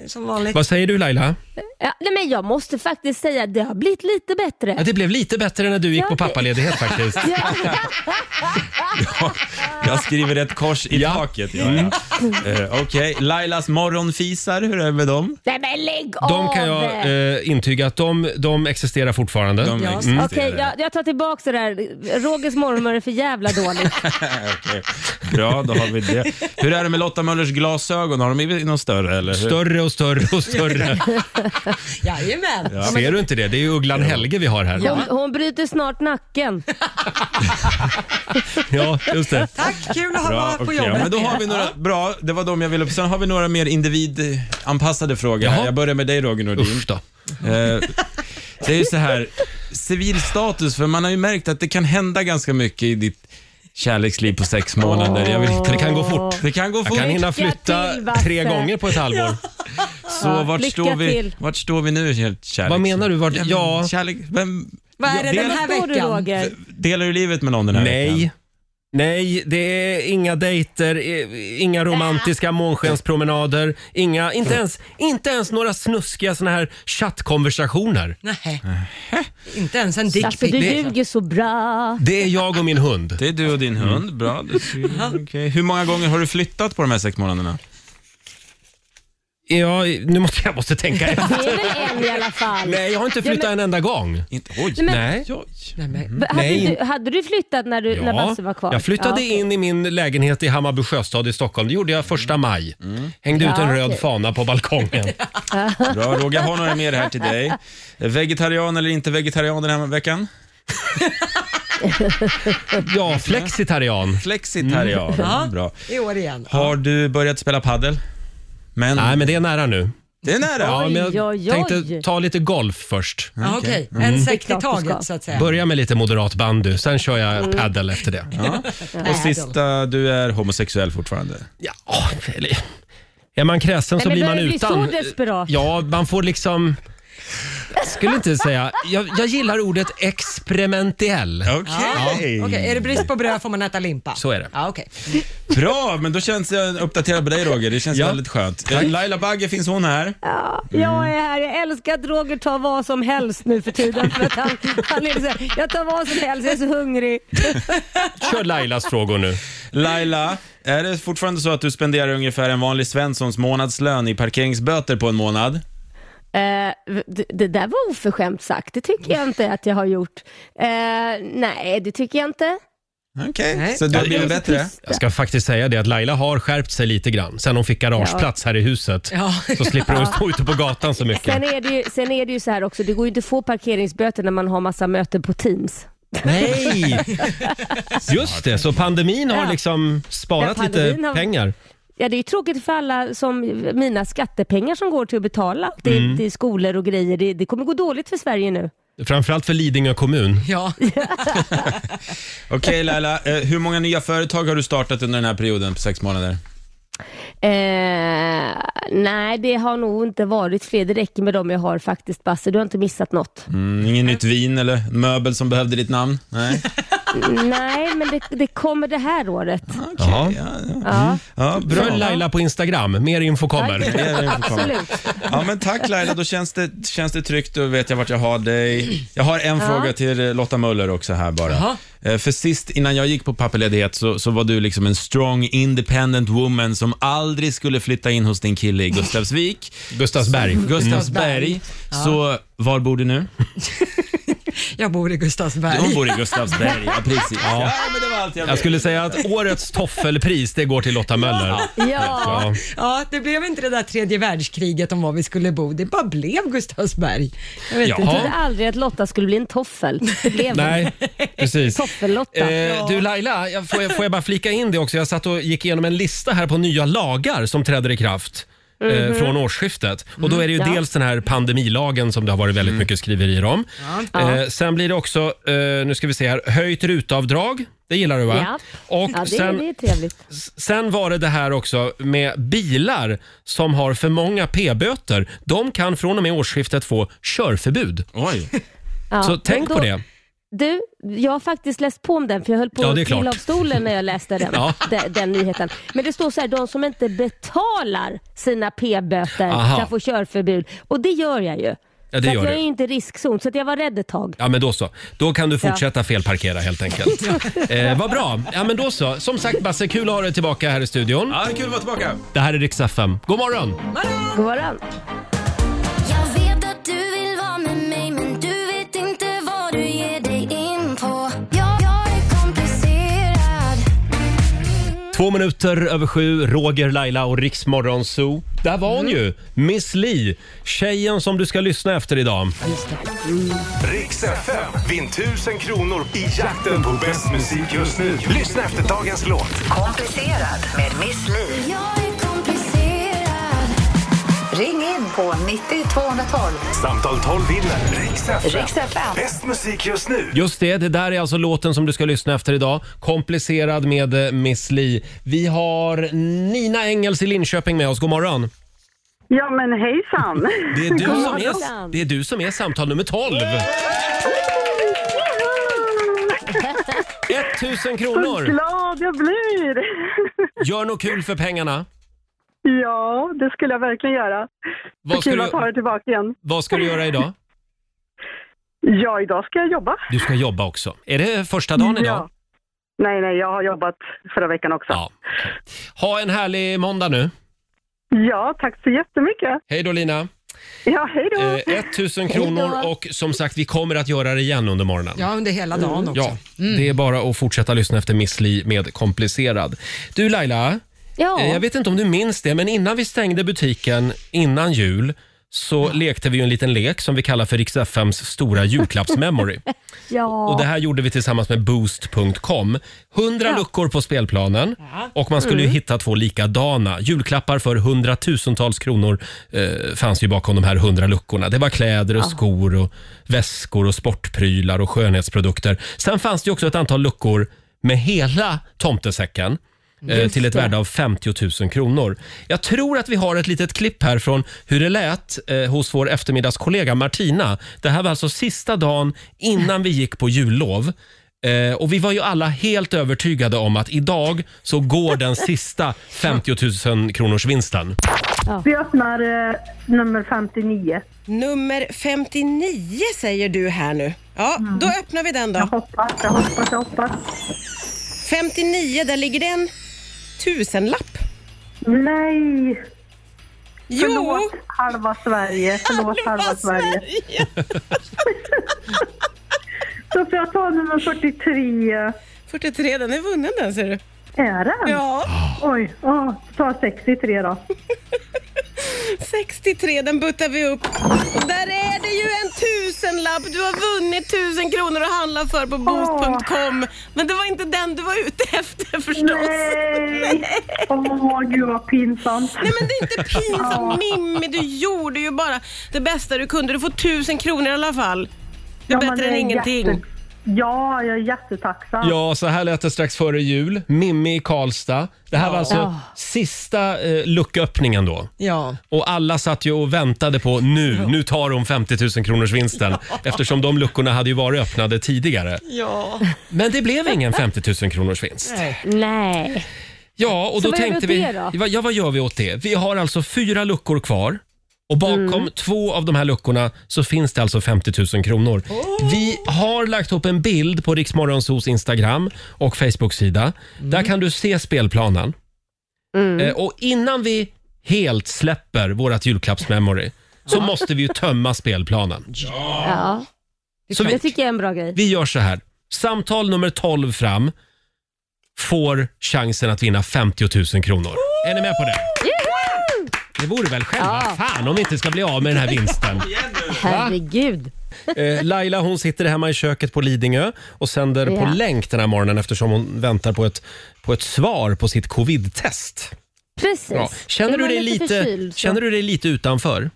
Speaker 2: Som vanligt.
Speaker 1: Vad säger du Laila?
Speaker 9: Ja, nej, men jag måste faktiskt säga att det har blivit lite bättre.
Speaker 1: Ja, det blev lite bättre när du gick
Speaker 9: Ja,
Speaker 1: på
Speaker 9: det-
Speaker 1: pappaledighet faktiskt.
Speaker 5: Jag skriver ett kors i
Speaker 1: Ja.
Speaker 5: taket. Ja, ja. Eh, Okej, Lailas morgonfisar, hur är det med dem?
Speaker 9: Nej men lägg av!
Speaker 1: De kan jag eh, intyga att de, de existerar fortfarande.
Speaker 5: De
Speaker 2: Ja.
Speaker 5: existerar.
Speaker 9: Okej, jag, jag tar tillbaka det där. Rogers mormor är för jävla dålig.
Speaker 5: Okej. Bra, då har vi det. Hur är det med Lotta Möllers glasögon? Har de blivit någon större? Eller? hur?
Speaker 1: Större och större och större.
Speaker 2: Jajamän.
Speaker 1: Ser du inte det? Det är ju Ugglan Helge vi har här.
Speaker 9: Hon, hon bryter snart nacken.
Speaker 1: Ja, just det.
Speaker 2: Tack, kul att ha
Speaker 5: Bra,
Speaker 2: varit på
Speaker 5: okej.
Speaker 2: jobbet.
Speaker 5: ja, men då har vi några, bra, det var de jag ville. Sen har vi några mer individanpassade frågor. Här.
Speaker 1: Jaha.
Speaker 5: Jag börjar med dig Roger Nordin.
Speaker 1: Usch då.
Speaker 5: Eh, det är ju så här, civil status, för man har ju märkt att det kan hända ganska mycket i ditt kärleksliv på sex månader. Jag vill inte,
Speaker 1: Det kan gå fort.
Speaker 5: Det kan gå fort.
Speaker 1: Jag kan hinna
Speaker 9: Lycka
Speaker 1: flytta
Speaker 9: till, Basse.
Speaker 1: tre gånger på ett halvår.
Speaker 5: Så vart
Speaker 9: lycka
Speaker 5: står, vi,
Speaker 9: till.
Speaker 5: vart står vi nu helt kärleks...
Speaker 1: Vad menar du? Vart-
Speaker 5: Ja, men
Speaker 1: ja.
Speaker 5: Kärlek, vem,
Speaker 2: Vad är det
Speaker 5: Ja,
Speaker 2: den här
Speaker 9: Står du
Speaker 2: veckan?
Speaker 9: Roger?
Speaker 5: delar du livet med någon den här veckan?
Speaker 1: Nej. Nej, det är inga dejter, eh,
Speaker 9: Äh.
Speaker 1: inga romantiska månskenspromenader, inga, inte, ens, inte ens några snuskiga såna här chattkonversationer.
Speaker 2: Nej. Inte ens en
Speaker 9: Alltså du
Speaker 2: dickpic.
Speaker 9: ljuger så bra.
Speaker 1: Det är jag och min hund.
Speaker 5: Det är du och din hund. Bra. Du ser- okej. Hur många gånger har du flyttat på de här sex månaderna?
Speaker 1: Ja, nu måste jag måste tänka efter.
Speaker 9: Det är väl en i alla fall.
Speaker 1: Nej, jag har inte flyttat
Speaker 9: Ja,
Speaker 1: en enda gång.
Speaker 5: Inte, oj.
Speaker 9: men-
Speaker 1: Nej.
Speaker 9: Va- Hade,
Speaker 1: Nej.
Speaker 9: Du, hade du flyttat när, du, när Basse var kvar?
Speaker 1: jag flyttade
Speaker 9: Ja.
Speaker 1: in i min lägenhet i Hammarby sjöstad i Stockholm. Det gjorde jag första maj. Hängde ut
Speaker 9: Ja,
Speaker 1: en röd
Speaker 9: okej.
Speaker 1: fana på balkongen.
Speaker 5: Bra Roger, jag har några mer här till dig. Vegetarian eller inte vegetarian den här veckan?
Speaker 1: Ja, flexitarian. Mm.
Speaker 5: Flexitarian.
Speaker 2: Ja.
Speaker 5: Bra.
Speaker 2: I år igen.
Speaker 5: Har du börjat spela paddel? Men
Speaker 1: Nej, men det är nära nu.
Speaker 5: det är nära.
Speaker 1: Ja, men
Speaker 9: Oj,
Speaker 1: jag
Speaker 9: oj, oj.
Speaker 1: tänkte ta lite golf först.
Speaker 2: Ja, Okej,
Speaker 1: Mm.
Speaker 2: en säck i
Speaker 9: Det är klart du ska.
Speaker 2: taget så att säga.
Speaker 1: Börja med lite moderat bandy, sen kör
Speaker 9: Mm.
Speaker 1: jag padel efter det.
Speaker 5: Och sista, du är homosexuell fortfarande.
Speaker 1: Ja, eller, är man kräsen så
Speaker 9: Nej, men
Speaker 1: blir man
Speaker 9: börjar du bli
Speaker 1: utan.
Speaker 9: så desperat?
Speaker 1: Ja, man får liksom... skulle inte säga... Jag, jag gillar ordet experimentell.
Speaker 5: Okej.
Speaker 2: Okej, är det brist på bröd får man äta limpa.
Speaker 1: Så är det.
Speaker 2: Ja, okay.
Speaker 5: Bra, men då känns jag uppdaterad på dig Roger. Det känns
Speaker 1: Ja.
Speaker 5: väldigt skönt. Eh, Laila Bagge, finns hon här?
Speaker 9: Ja, jag är här. Jag älskar att Roger tar vad som helst nu för tiden. För att han, han är så här, jag tar vad som helst, jag är så hungrig.
Speaker 1: Kör Lailas frågor nu.
Speaker 5: Laila, är det fortfarande så att du spenderar ungefär en vanlig Svenssons månadslön i parkeringsböter på en månad?
Speaker 9: Eh, det, det där var oförskämt sagt. Det tycker jag inte att jag har gjort. Eh, nej, det tycker jag inte.
Speaker 5: Okej,
Speaker 2: Nej.
Speaker 5: så du har blivit bättre?
Speaker 1: Jag ska faktiskt säga det att Laila har skärpt sig lite grann sen hon fick garageplats här i huset.
Speaker 2: Ja.
Speaker 1: Så slipper hon stå ute på gatan så mycket.
Speaker 9: Sen är, det ju, sen är det ju så här också, det går ju inte att få parkeringsböter när man har massa möten på Teams.
Speaker 1: Nej! Just det, så pandemin har
Speaker 9: Ja.
Speaker 1: liksom sparat
Speaker 9: Ja,
Speaker 1: lite
Speaker 9: pandemin har-
Speaker 1: pengar.
Speaker 9: Ja, det är ju tråkigt för alla som mina skattepengar som går till att betala till, till skolor och grejer. Det, det kommer gå dåligt för Sverige nu.
Speaker 1: Framförallt för Lidingö kommun.
Speaker 2: ja.
Speaker 5: Okej Laila, eh, hur många nya företag har du startat under den här perioden på sex månader?
Speaker 9: Eh, nej, det har nog inte varit fler. Det räcker med dem jag har faktiskt, Basse. Du har inte missat något.
Speaker 5: Mm, ingen nytt vin eller möbel som behövde ditt namn? Nej.
Speaker 9: Nej, men det, det kommer det här året.
Speaker 1: Jaha.
Speaker 9: Ja,
Speaker 5: Ja,
Speaker 1: Följ
Speaker 5: bra.
Speaker 1: Laila på Instagram, mer info kommer.
Speaker 5: Ja, det får komma.
Speaker 9: absolut.
Speaker 5: Ja, men tack Laila, då känns det, känns det tryggt och vet jag vart jag har dig. Jag har en fråga till eh, Lotta Möller också här bara.
Speaker 2: Jaha.
Speaker 5: Eh, För sist innan jag gick på pappaledighet så, så var du liksom en strong independent woman som aldrig skulle flytta in hos din kille i Gustavsvik,
Speaker 1: Gustavsberg.
Speaker 5: Gustavsberg. Så var bor du nu?
Speaker 2: Jag bor i Gustavsberg.
Speaker 5: Hon bor i Gustavsberg, ja precis. Ja. men det var allt jag,
Speaker 1: Jag skulle säga att årets toffelpris, det går till Lotta Möller.
Speaker 9: Ja,
Speaker 1: Ja.
Speaker 2: Ja, det blev inte det där tredje världskriget om var vi skulle bo. Det bara blev Gustavsberg. Jag vet
Speaker 1: Jaha.
Speaker 9: jag
Speaker 2: inte.
Speaker 9: trodde aldrig att Lotta skulle bli en toffel. Det blev
Speaker 1: Nej, precis.
Speaker 9: Toffel-Lotta.
Speaker 1: Eh, du Laila, jag får, jag, får jag bara flika in det också? Jag satt och gick igenom en lista här på nya lagar som träder i kraft. eh, från årsskiftet. Och då är det ju
Speaker 9: Mhm. Mm. ja. Mm.
Speaker 1: dels den här pandemilagen som det har varit väldigt mycket skriverier om. Eh, sen blir det också, eh, nu ska vi se här, höjt rutavdrag. Det gillar du va?
Speaker 9: Ja.
Speaker 1: Och
Speaker 9: Ja, det, är-
Speaker 1: sen,
Speaker 9: det är trevligt.
Speaker 1: sen var det det här också med bilar som har för många p-böter. De kan från och med årsskiftet få körförbud.
Speaker 5: Oj.
Speaker 9: Ja,
Speaker 1: Så
Speaker 9: men
Speaker 1: tänk
Speaker 9: då-
Speaker 1: på det.
Speaker 9: Du, jag har faktiskt läst på om den för jag höll på
Speaker 1: Ja, det är
Speaker 9: att trilla av
Speaker 1: klart.
Speaker 9: stolen när jag läste den,
Speaker 1: Ja.
Speaker 9: den, den nyheten. Men det står så här, de som inte betalar sina p-böter
Speaker 1: Aha.
Speaker 9: kan få körförbud. Och det gör jag ju.
Speaker 1: Ja, det
Speaker 9: så
Speaker 1: gör
Speaker 9: att jag
Speaker 1: du.
Speaker 9: är ju inte i riskzon, så att jag var rädd ett tag.
Speaker 1: Ja, men då så. Då kan du fortsätta felparkera helt enkelt. eh, vad bra. Ja, men då så. Som sagt Basse, kul att ha dig tillbaka här i studion.
Speaker 5: Ja, det är kul att vara tillbaka.
Speaker 1: Det här är Rix FM. God morgon!
Speaker 9: God morgon.
Speaker 4: Jag vet att du vill vara med mig men du vet inte vad du ger dig in på Jag, jag är komplicerad
Speaker 1: Två minuter över sju, Roger, Laila och Rix Morgon Zoo. Där var hon ju, Miss Li. Tjejen som du ska lyssna efter idag.
Speaker 3: Riks FM, vinn 1000 kronor i jakten på bäst musik just nu. Lyssna efter dagens låt.
Speaker 7: Komplicerad med Miss Li.
Speaker 4: Jag är komplicerad
Speaker 7: Ring in på 90 212.
Speaker 3: Samtal 12 vinner. Riks FM,
Speaker 7: Riks FM.
Speaker 3: bäst musik just nu.
Speaker 1: Just det, det där är alltså låten som du ska lyssna efter idag. Komplicerad med eh, Miss Li. Vi har Nina Engels i Linköping med oss. God morgon!
Speaker 10: Ja, men hejsan.
Speaker 1: Det är du, som är,
Speaker 9: morgon.
Speaker 1: det är, du som är samtal nummer 12. 1000
Speaker 10: Vad
Speaker 1: kronor!
Speaker 10: glad jag blir!
Speaker 1: Gör något kul för pengarna.
Speaker 10: Ja, det skulle jag verkligen göra.
Speaker 1: Vad
Speaker 10: Så
Speaker 1: ska
Speaker 10: kul
Speaker 1: du-
Speaker 10: att ha det tillbaka igen.
Speaker 1: Vad ska du göra idag?
Speaker 10: Ja, idag ska jag jobba.
Speaker 1: Du ska jobba också. Är det första dagen idag?
Speaker 10: Ja. Nej, nej, jag har jobbat förra veckan också. Ja,
Speaker 1: Ja. okej. Ha en härlig måndag nu.
Speaker 10: tack så jättemycket.
Speaker 1: Hej då Lina.
Speaker 10: Ja, hej då!
Speaker 1: Eh, 1000 kronor och som sagt vi kommer att göra det igen under morgonen.
Speaker 2: Ja, under hela dagen också.
Speaker 1: Mm. Ja, det är bara att fortsätta lyssna efter Miss Li med Komplicerad. Du Laila,
Speaker 9: Ja,
Speaker 1: eh, jag vet inte om du minns det, men innan vi stängde butiken innan jul så lekte vi ju en liten lek som vi kallar för Rix FMs stora julklappsmemory.
Speaker 9: ja.
Speaker 1: Och det här gjorde vi tillsammans med Boost.com. 100 luckor på spelplanen och man skulle ju
Speaker 9: Mm.
Speaker 1: hitta två likadana. Julklappar för hundratusentals kronor eh, fanns ju bakom de här 100 luckorna. Det var kläder och skor och väskor och sportprylar och skönhetsprodukter. Sen fanns det ju också ett antal luckor med hela tomtesäcken. eh,
Speaker 11: Just
Speaker 1: till ett
Speaker 11: det.
Speaker 1: värde av 50 000 kronor. Jag tror att vi har ett litet klipp här från hur det lät eh, hos vår eftermiddagskollega Martina. Det här var alltså sista dagen innan vi gick på jullov. Eh, och Vi var ju alla helt övertygade om att idag så går den sista 50 000 kronors vinsten.
Speaker 10: Vi öppnar eh, nummer 59.
Speaker 12: Nummer 59 säger du här nu. Ja,
Speaker 10: Mm.
Speaker 12: då öppnar vi den då. Jag
Speaker 10: hoppas, jag hoppas, jag hoppas.
Speaker 12: 59, där ligger det en tusenlapp.
Speaker 10: Nej!
Speaker 12: Jo.
Speaker 10: Förlåt halva Sverige. Förlåt halva, Sverige. Då får jag ta nummer 43.
Speaker 12: 43, den är vunnen den ser du.
Speaker 10: Är den?
Speaker 12: Ja.
Speaker 10: Oj, åh, ta 63 då.
Speaker 12: 63, den buttar vi upp. Och där är det ju en tusenlapp! Du har vunnit tusen kronor att handla för på boost.com. Men det var inte den du var ute efter förstås.
Speaker 10: Nej! Åh, gud vad pinsamt.
Speaker 12: Nej men det är inte pinsamt Mimmi, du gjorde ju bara det bästa du kunde. Du får tusen kronor i alla fall. Det är
Speaker 10: Ja, men
Speaker 12: bättre än
Speaker 10: är
Speaker 12: ingenting.
Speaker 10: jätte- Ja, jag är jättetacksam.
Speaker 1: Ja, så här lät det strax före jul. Mimmi i Karlstad. Det här var alltså
Speaker 10: Ja.
Speaker 1: sista eh, lucköppningen då.
Speaker 12: Ja.
Speaker 1: Och alla satt ju och väntade på nu, nu tar hon 50 000 kronors vinsten Eftersom de luckorna hade ju varit öppnade tidigare.
Speaker 12: Ja.
Speaker 1: Men det blev ingen 50 000 kronors vinst.
Speaker 9: Nej.
Speaker 1: Ja, och
Speaker 9: Så
Speaker 1: då
Speaker 9: vad gör vi
Speaker 1: tänkte
Speaker 9: åt
Speaker 1: vi,
Speaker 9: det då?
Speaker 1: vad- ja, vad gör vi åt det? Vi har alltså fyra luckor kvar. Och bakom
Speaker 9: Mm.
Speaker 1: två av de här luckorna så finns det alltså 50 000 kronor. Vi har lagt upp en bild på Riksmorgonsos Instagram och Facebook-sida.
Speaker 9: Mm.
Speaker 1: Där kan du se spelplanen. Eh, och innan vi helt släpper vårt julklappsmemory så måste vi ju tömma spelplanen.
Speaker 9: Ja.
Speaker 1: Så vi-
Speaker 9: Det tycker jag är en bra grej.
Speaker 1: Vi gör så här. Samtal nummer 12 fram får chansen att vinna 50 000 kronor. Är ni med på det? Det vore väl själva
Speaker 9: Ja.
Speaker 1: fan om vi inte ska bli av med den här vinsten.
Speaker 9: Herregud.
Speaker 1: Eh, Laila hon sitter hemma i köket på Lidingö och sänder
Speaker 9: Ja.
Speaker 1: på länk den här morgonen eftersom hon väntar på ett, på ett svar på sitt covid-test.
Speaker 9: Precis.
Speaker 1: Ja. Känner,
Speaker 9: Jag
Speaker 1: du
Speaker 9: var
Speaker 1: dig lite,
Speaker 9: förkyld, så-
Speaker 1: känner du dig lite utanför?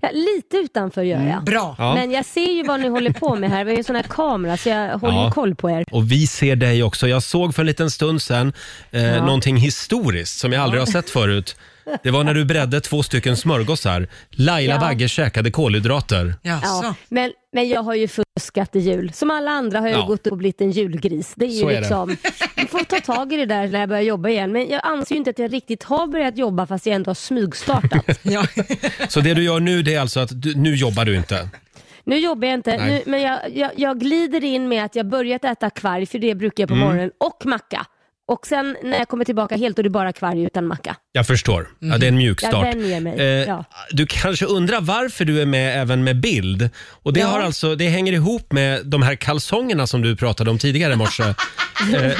Speaker 9: Ja, lite utanför gör jag.
Speaker 1: bra. Mm. Ja.
Speaker 9: Men jag ser ju vad ni håller på med här. Vi har ju sån här kamera så jag håller
Speaker 1: Ja.
Speaker 9: ju koll på er.
Speaker 1: Och vi ser dig också. Jag såg för en liten stund sedan eh,
Speaker 9: Ja.
Speaker 1: någonting historiskt som jag aldrig har sett förut. Det var när du bredde två stycken smörgåsar. Laila
Speaker 9: Ja.
Speaker 1: Bagge käkade kolhydrater.
Speaker 9: Ja, men, men jag har ju fuskat i jul. Som alla andra har jag
Speaker 1: Ja.
Speaker 9: ju gått upp och blivit en julgris. Det är ju
Speaker 1: Så är det.
Speaker 9: liksom, jag får ta tag i det där när jag börjar jobba igen. Men jag anser ju inte att jag riktigt har börjat jobba fast jag ändå har smygstartat.
Speaker 1: Så det du gör nu det är alltså att du, nu jobbar du inte.
Speaker 9: Nu jobbar jag inte,
Speaker 1: Nej.
Speaker 9: nu, men jag, jag, jag glider in med att jag börjat äta kvarg, för det brukar jag på
Speaker 1: Mm.
Speaker 9: morgonen, och macka. Och sen när jag kommer tillbaka helt, då är det bara kvarg utan macka.
Speaker 1: Jag förstår. Ja, det är en mjuk
Speaker 9: Mhm. Jag
Speaker 1: start. Eh,
Speaker 9: vänjer mig, ja.
Speaker 1: Du kanske undrar varför du är med även med bild. Och det,
Speaker 9: Ja.
Speaker 1: har alltså, det hänger ihop med de här kalsongerna som du pratade om tidigare i morse. eh,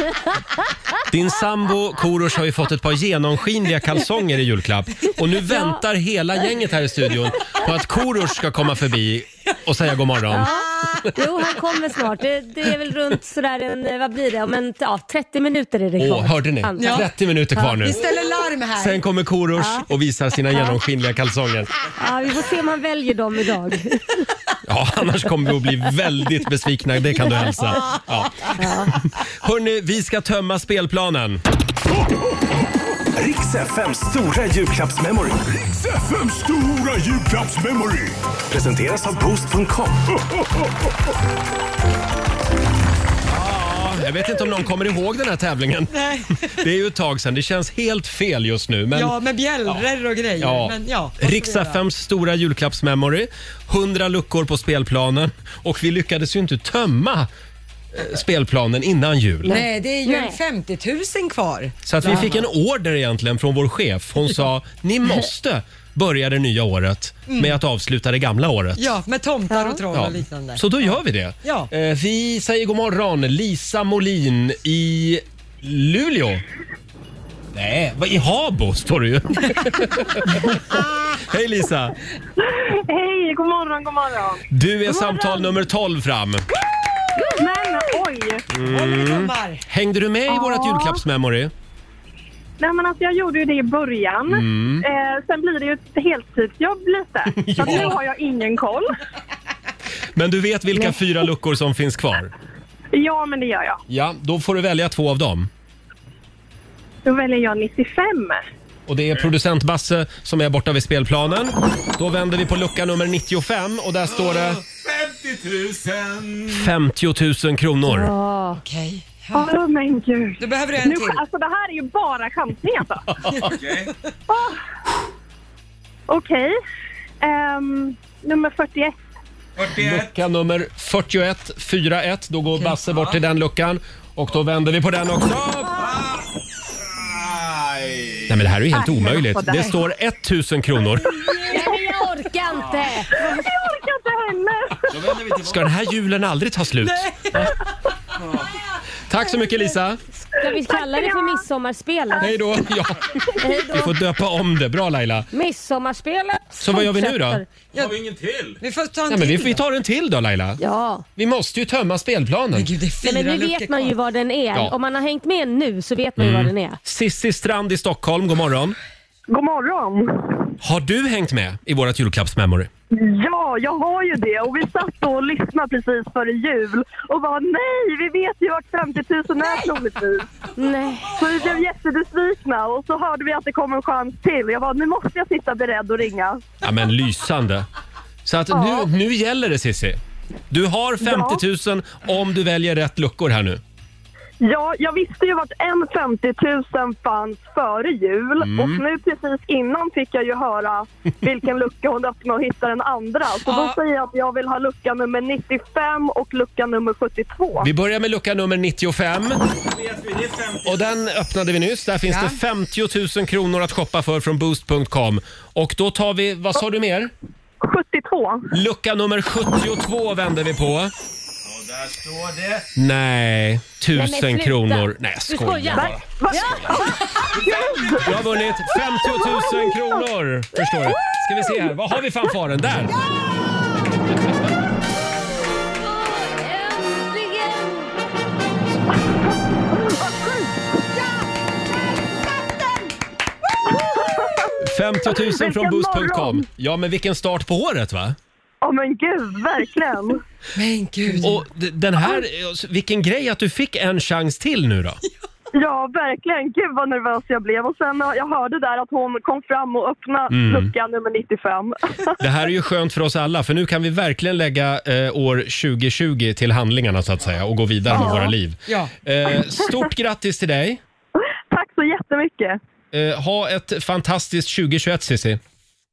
Speaker 1: din sambo Korosh har ju fått ett par genomskinliga kalsonger i julklapp. Och nu väntar hela gänget här i studion på att Korosh ska komma förbi och säga god morgon.
Speaker 9: Ja. Jo, han kommer snart. Det, det är väl runt sådär, en, vad blir det, om en, ja, 30 minuter är det kvar.
Speaker 1: Åh, hörde ni?
Speaker 9: Han-
Speaker 1: 30 minuter kvar nu.
Speaker 9: Ja.
Speaker 12: larm här.
Speaker 1: Sen kommer Korosh och visar sina genomskinliga kalsonger.
Speaker 9: Ja, vi får se om han väljer dem idag.
Speaker 1: Ja, annars kommer vi att bli väldigt besvikna, det kan du hälsa. Ja. Hörni, vi ska tömma spelplanen.
Speaker 3: Riks FMs stora julklappsmemory. Riks FMs stora julklappsmemory. Presenteras av Boost.com.
Speaker 1: Jag vet inte om någon kommer ihåg den här tävlingen.
Speaker 2: Nej.
Speaker 1: Det är ju ett tag sedan, det känns helt fel just nu. Men...
Speaker 2: ja, med bjällror och grejer.
Speaker 1: Ja.
Speaker 2: Men, ja, vad ska vi
Speaker 1: Riks
Speaker 2: göra?
Speaker 1: FMs stora julklappsmemory. 100 luckor på spelplanen och vi lyckades ju inte tömma eh, spelplanen innan jul.
Speaker 2: Nej, det är ju
Speaker 12: Nej.
Speaker 2: 50 000 kvar.
Speaker 1: Så att vi fick en order egentligen från vår chef. Hon sa ni måste börja det nya året med
Speaker 2: Mm.
Speaker 1: att avsluta det gamla året.
Speaker 2: Ja, med tomtar och troll
Speaker 1: Ja.
Speaker 2: och liknande.
Speaker 1: Så då gör vi det.
Speaker 2: Ja.
Speaker 1: Eh, Vi säger god morgon Lisa Molin i Luleå. Nej, vad- i Habo står det ju. Hej Lisa!
Speaker 10: Hej, god morgon, god morgon.
Speaker 1: Du är samtal nummer 12 fram.
Speaker 10: Men oj!
Speaker 1: Mm. Hängde du med i vårt
Speaker 10: Ja.
Speaker 1: julklappsmemory?
Speaker 10: Nej, men alltså, jag gjorde ju det i början.
Speaker 1: Mm.
Speaker 10: Eh, sen blir det ju ett heltidsjobb lite. Så att nu har jag ingen koll.
Speaker 1: Men du vet vilka fyra luckor som finns kvar?
Speaker 10: Ja, men det gör jag.
Speaker 1: Ja, då får du välja två av dem.
Speaker 10: Då väljer jag 95.
Speaker 1: Och det är producent Basse som är borta vid spelplanen. Då vänder vi på lucka nummer 95 och där står det
Speaker 5: 50 000!
Speaker 1: 50 000 kronor.
Speaker 9: Ja.
Speaker 2: Okej.
Speaker 10: Åh, men gud.
Speaker 2: Du behöver en
Speaker 10: nu,
Speaker 2: till.
Speaker 10: Alltså, det här är ju bara chansning alltså.
Speaker 5: Okej.
Speaker 10: Åh. Okej. Ehm, nummer 41.
Speaker 1: Lucka nummer 41, 41. Då går Basse bort till den luckan. Och då vänder vi på den också. Nej men det här är ju helt
Speaker 10: Aj, jag
Speaker 1: omöjligt.
Speaker 10: var på
Speaker 1: Det
Speaker 10: där.
Speaker 1: står 1000 kronor.
Speaker 9: Nej, jag orkar inte!
Speaker 10: Jag orkar inte heller.
Speaker 5: Då vänder vi tillbaka.
Speaker 1: Ska den här julen aldrig ta slut? Ja. Tack så mycket Lisa.
Speaker 9: Ska vi kalla det för midsommarspelet?
Speaker 1: Hej då. Ja, vi får döpa om det. Bra Laila.
Speaker 9: Midsommarspelet
Speaker 1: Så vad gör vi nu då?
Speaker 9: fortsätter.
Speaker 5: Har vi ingen till?
Speaker 2: Vi får ta en
Speaker 1: Nej, men vi,
Speaker 2: till.
Speaker 1: vi tar en till då Laila.
Speaker 9: Ja.
Speaker 1: Vi måste ju tömma spelplanen.
Speaker 2: Gud, det är fyra
Speaker 9: Nej, men nu
Speaker 2: luckor
Speaker 9: vet man ju
Speaker 2: kvar.
Speaker 9: vad den är.
Speaker 1: Ja. Mm.
Speaker 9: Om man har hängt med nu så vet man ju vad den är.
Speaker 1: Sissi Strand i Stockholm, god morgon.
Speaker 10: God morgon.
Speaker 1: Har du hängt med i vårt julklappsmemory?
Speaker 10: Ja, jag har ju det. Och vi satt då och lyssnade precis före jul och bara nej, vi vet ju vart 50 000 är troligtvis.
Speaker 9: Nej.
Speaker 10: Så vi blev jättebesvikna och så hörde vi att det kom en chans till. Jag bara, nu måste jag sitta beredd och ringa.
Speaker 1: Ja, men lysande. Så att nu, nu gäller det Sissi. Du har 50 000 om du väljer rätt luckor här nu.
Speaker 10: Ja, jag visste ju vart en 50 000 fanns före jul och nu precis innan fick jag ju höra vilken lucka hon öppnade och hittade den andra. Så
Speaker 2: Ja.
Speaker 10: då säger jag att jag vill ha lucka nummer 95 och lucka nummer 72.
Speaker 1: Vi börjar med lucka nummer 95. Och den öppnade vi nyss. Där finns
Speaker 2: Ja.
Speaker 1: det 50 000 kronor att shoppa för från boost.com. Och då tar vi, vad sa du mer?
Speaker 10: 72.
Speaker 1: Lucka nummer 72 vänder vi på.
Speaker 5: Och där står det...
Speaker 1: Nej,
Speaker 9: men
Speaker 1: 1000
Speaker 9: sluta.
Speaker 1: kronor. Nej, jag
Speaker 9: Du
Speaker 1: skojar.
Speaker 9: skojar.
Speaker 1: bara.
Speaker 10: Va?
Speaker 1: Jag har vunnit 50 000 kronor. Förstår du? Ska vi se här. Vad har vi fanfaren? Där!
Speaker 10: Vilken
Speaker 1: 50 000 från boost.com.
Speaker 10: morgon.
Speaker 1: Ja, men vilken start på året va?
Speaker 10: Ja men gud, verkligen.
Speaker 2: Men gud.
Speaker 1: Och d- den här, eh, vilken grej att du fick en chans till nu då.
Speaker 10: Ja, verkligen. Gud vad nervös jag blev. Och sen ja, jag hörde där att hon kom fram och öppnade lucka nummer 95.
Speaker 1: Det här är ju skönt för oss alla för nu kan vi verkligen lägga eh, år 2020 till handlingarna så att säga och gå vidare med våra liv.
Speaker 2: Ja.
Speaker 1: Eh, stort grattis till dig.
Speaker 10: Tack så jättemycket.
Speaker 1: Eh, ha ett fantastiskt 2021 Cissi.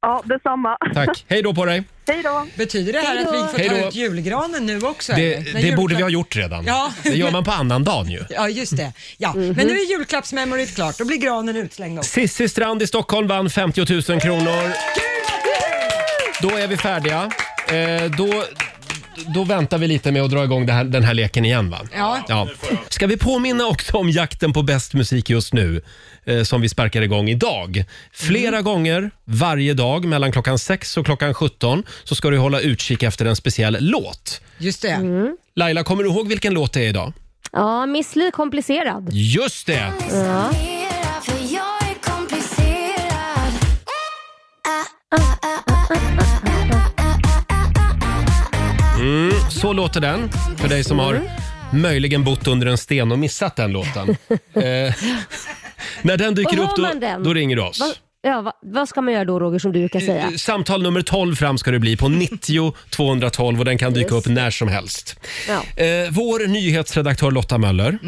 Speaker 10: Ja, detsamma.
Speaker 1: Tack. Hej då på dig.
Speaker 10: Hej då.
Speaker 2: Betyder det här att vi får
Speaker 1: Hej då.
Speaker 2: ta ut julgranen nu också?
Speaker 1: Det,
Speaker 2: eller? När
Speaker 1: det borde
Speaker 2: julklapp-
Speaker 1: vi ha gjort redan.
Speaker 2: Ja.
Speaker 1: Det gör man på annan dagen ju.
Speaker 2: Ja, just det. Ja. Men
Speaker 1: Mhm.
Speaker 2: nu är julklappsmemoryt klart. Då blir granen utslängd också.
Speaker 1: Sissi Strand i Stockholm vann 50 000 kronor. Då är vi färdiga. Eh, då, då väntar vi lite med att dra igång det här, den här leken igen va?
Speaker 2: Ja.
Speaker 1: Ska vi påminna också om jakten på bäst musik just nu eh, som vi sparkar igång idag. Flera gånger varje dag mellan klockan 6 och klockan 17 så ska du hålla utkik efter en speciell låt.
Speaker 2: Just det.
Speaker 1: Laila, kommer du ihåg vilken låt det är idag?
Speaker 9: Ja, Miss Li komplicerad.
Speaker 1: Just det!
Speaker 4: För jag är komplicerad
Speaker 1: Så låter den för dig som har möjligen bott under en sten och missat den låten. eh, när den dyker
Speaker 9: Och
Speaker 1: upp
Speaker 9: hör
Speaker 1: då,
Speaker 9: man den?
Speaker 1: då ringer du oss.
Speaker 9: Va, ja, va, vad ska man göra då Roger som du brukar säga?
Speaker 1: Samtal nummer 12 fram ska det bli på 90 212 och den kan dyka upp när som helst.
Speaker 9: Ja.
Speaker 1: Eh, vår nyhetsredaktör Lotta Möller,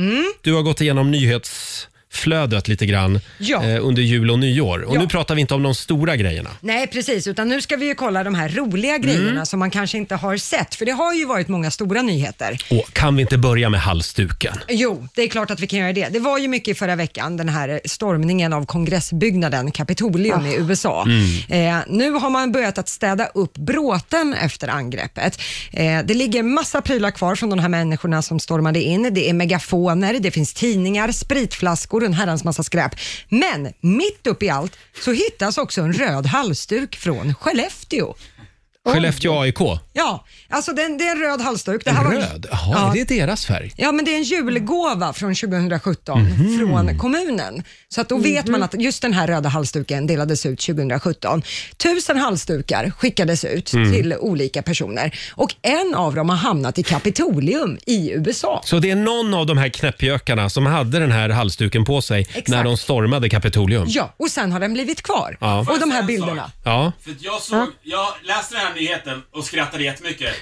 Speaker 1: du har gått igenom nyhetsflödet lite grann
Speaker 2: Ja.
Speaker 1: eh, under jul och nyår. Och
Speaker 2: Ja.
Speaker 1: nu pratar vi inte om de stora grejerna.
Speaker 2: Nej, precis. Utan nu ska vi ju kolla de här roliga grejerna som man kanske inte har sett. För det har ju varit många stora nyheter.
Speaker 1: Och kan vi inte börja med halsduken?
Speaker 2: Jo, det är klart att vi kan göra det. Det var ju mycket i förra veckan, den här stormningen av kongressbyggnaden Kapitolium i USA. Eh, nu har man börjat att städa upp bråten efter angreppet. Eh, det ligger massa prylar kvar från de här människorna som stormade in. Det är megafoner, det finns tidningar, spritflaskor och en herrans massa skräp. Men mitt upp i allt så hittas också en röd halsduk från Skellefteå.
Speaker 1: Skellefteå AIK.
Speaker 2: Ja, alltså den, det är en röd halsduk. Det här var en-
Speaker 1: Röd? Jaha, är
Speaker 2: Ja.
Speaker 1: det deras färg?
Speaker 2: Ja, men det är en julgåva från 2017
Speaker 1: Mhm.
Speaker 2: från kommunen. Så att då vet
Speaker 11: Mhm.
Speaker 2: man att just den här röda halsduken delades ut 2017. Tusen halsdukar skickades ut
Speaker 1: Mm.
Speaker 2: till olika personer och en av dem har hamnat i Kapitolium i USA.
Speaker 1: Så det är någon av de här knäppjökarna som hade den här halsduken på sig
Speaker 2: Exakt.
Speaker 1: när de stormade Kapitolium.
Speaker 2: Ja, och sen har den blivit kvar.
Speaker 1: Ja.
Speaker 2: Och de här bilderna.
Speaker 1: Ja.
Speaker 5: För att jag såg, jag läste den här nyheten och skrattade jättemycket.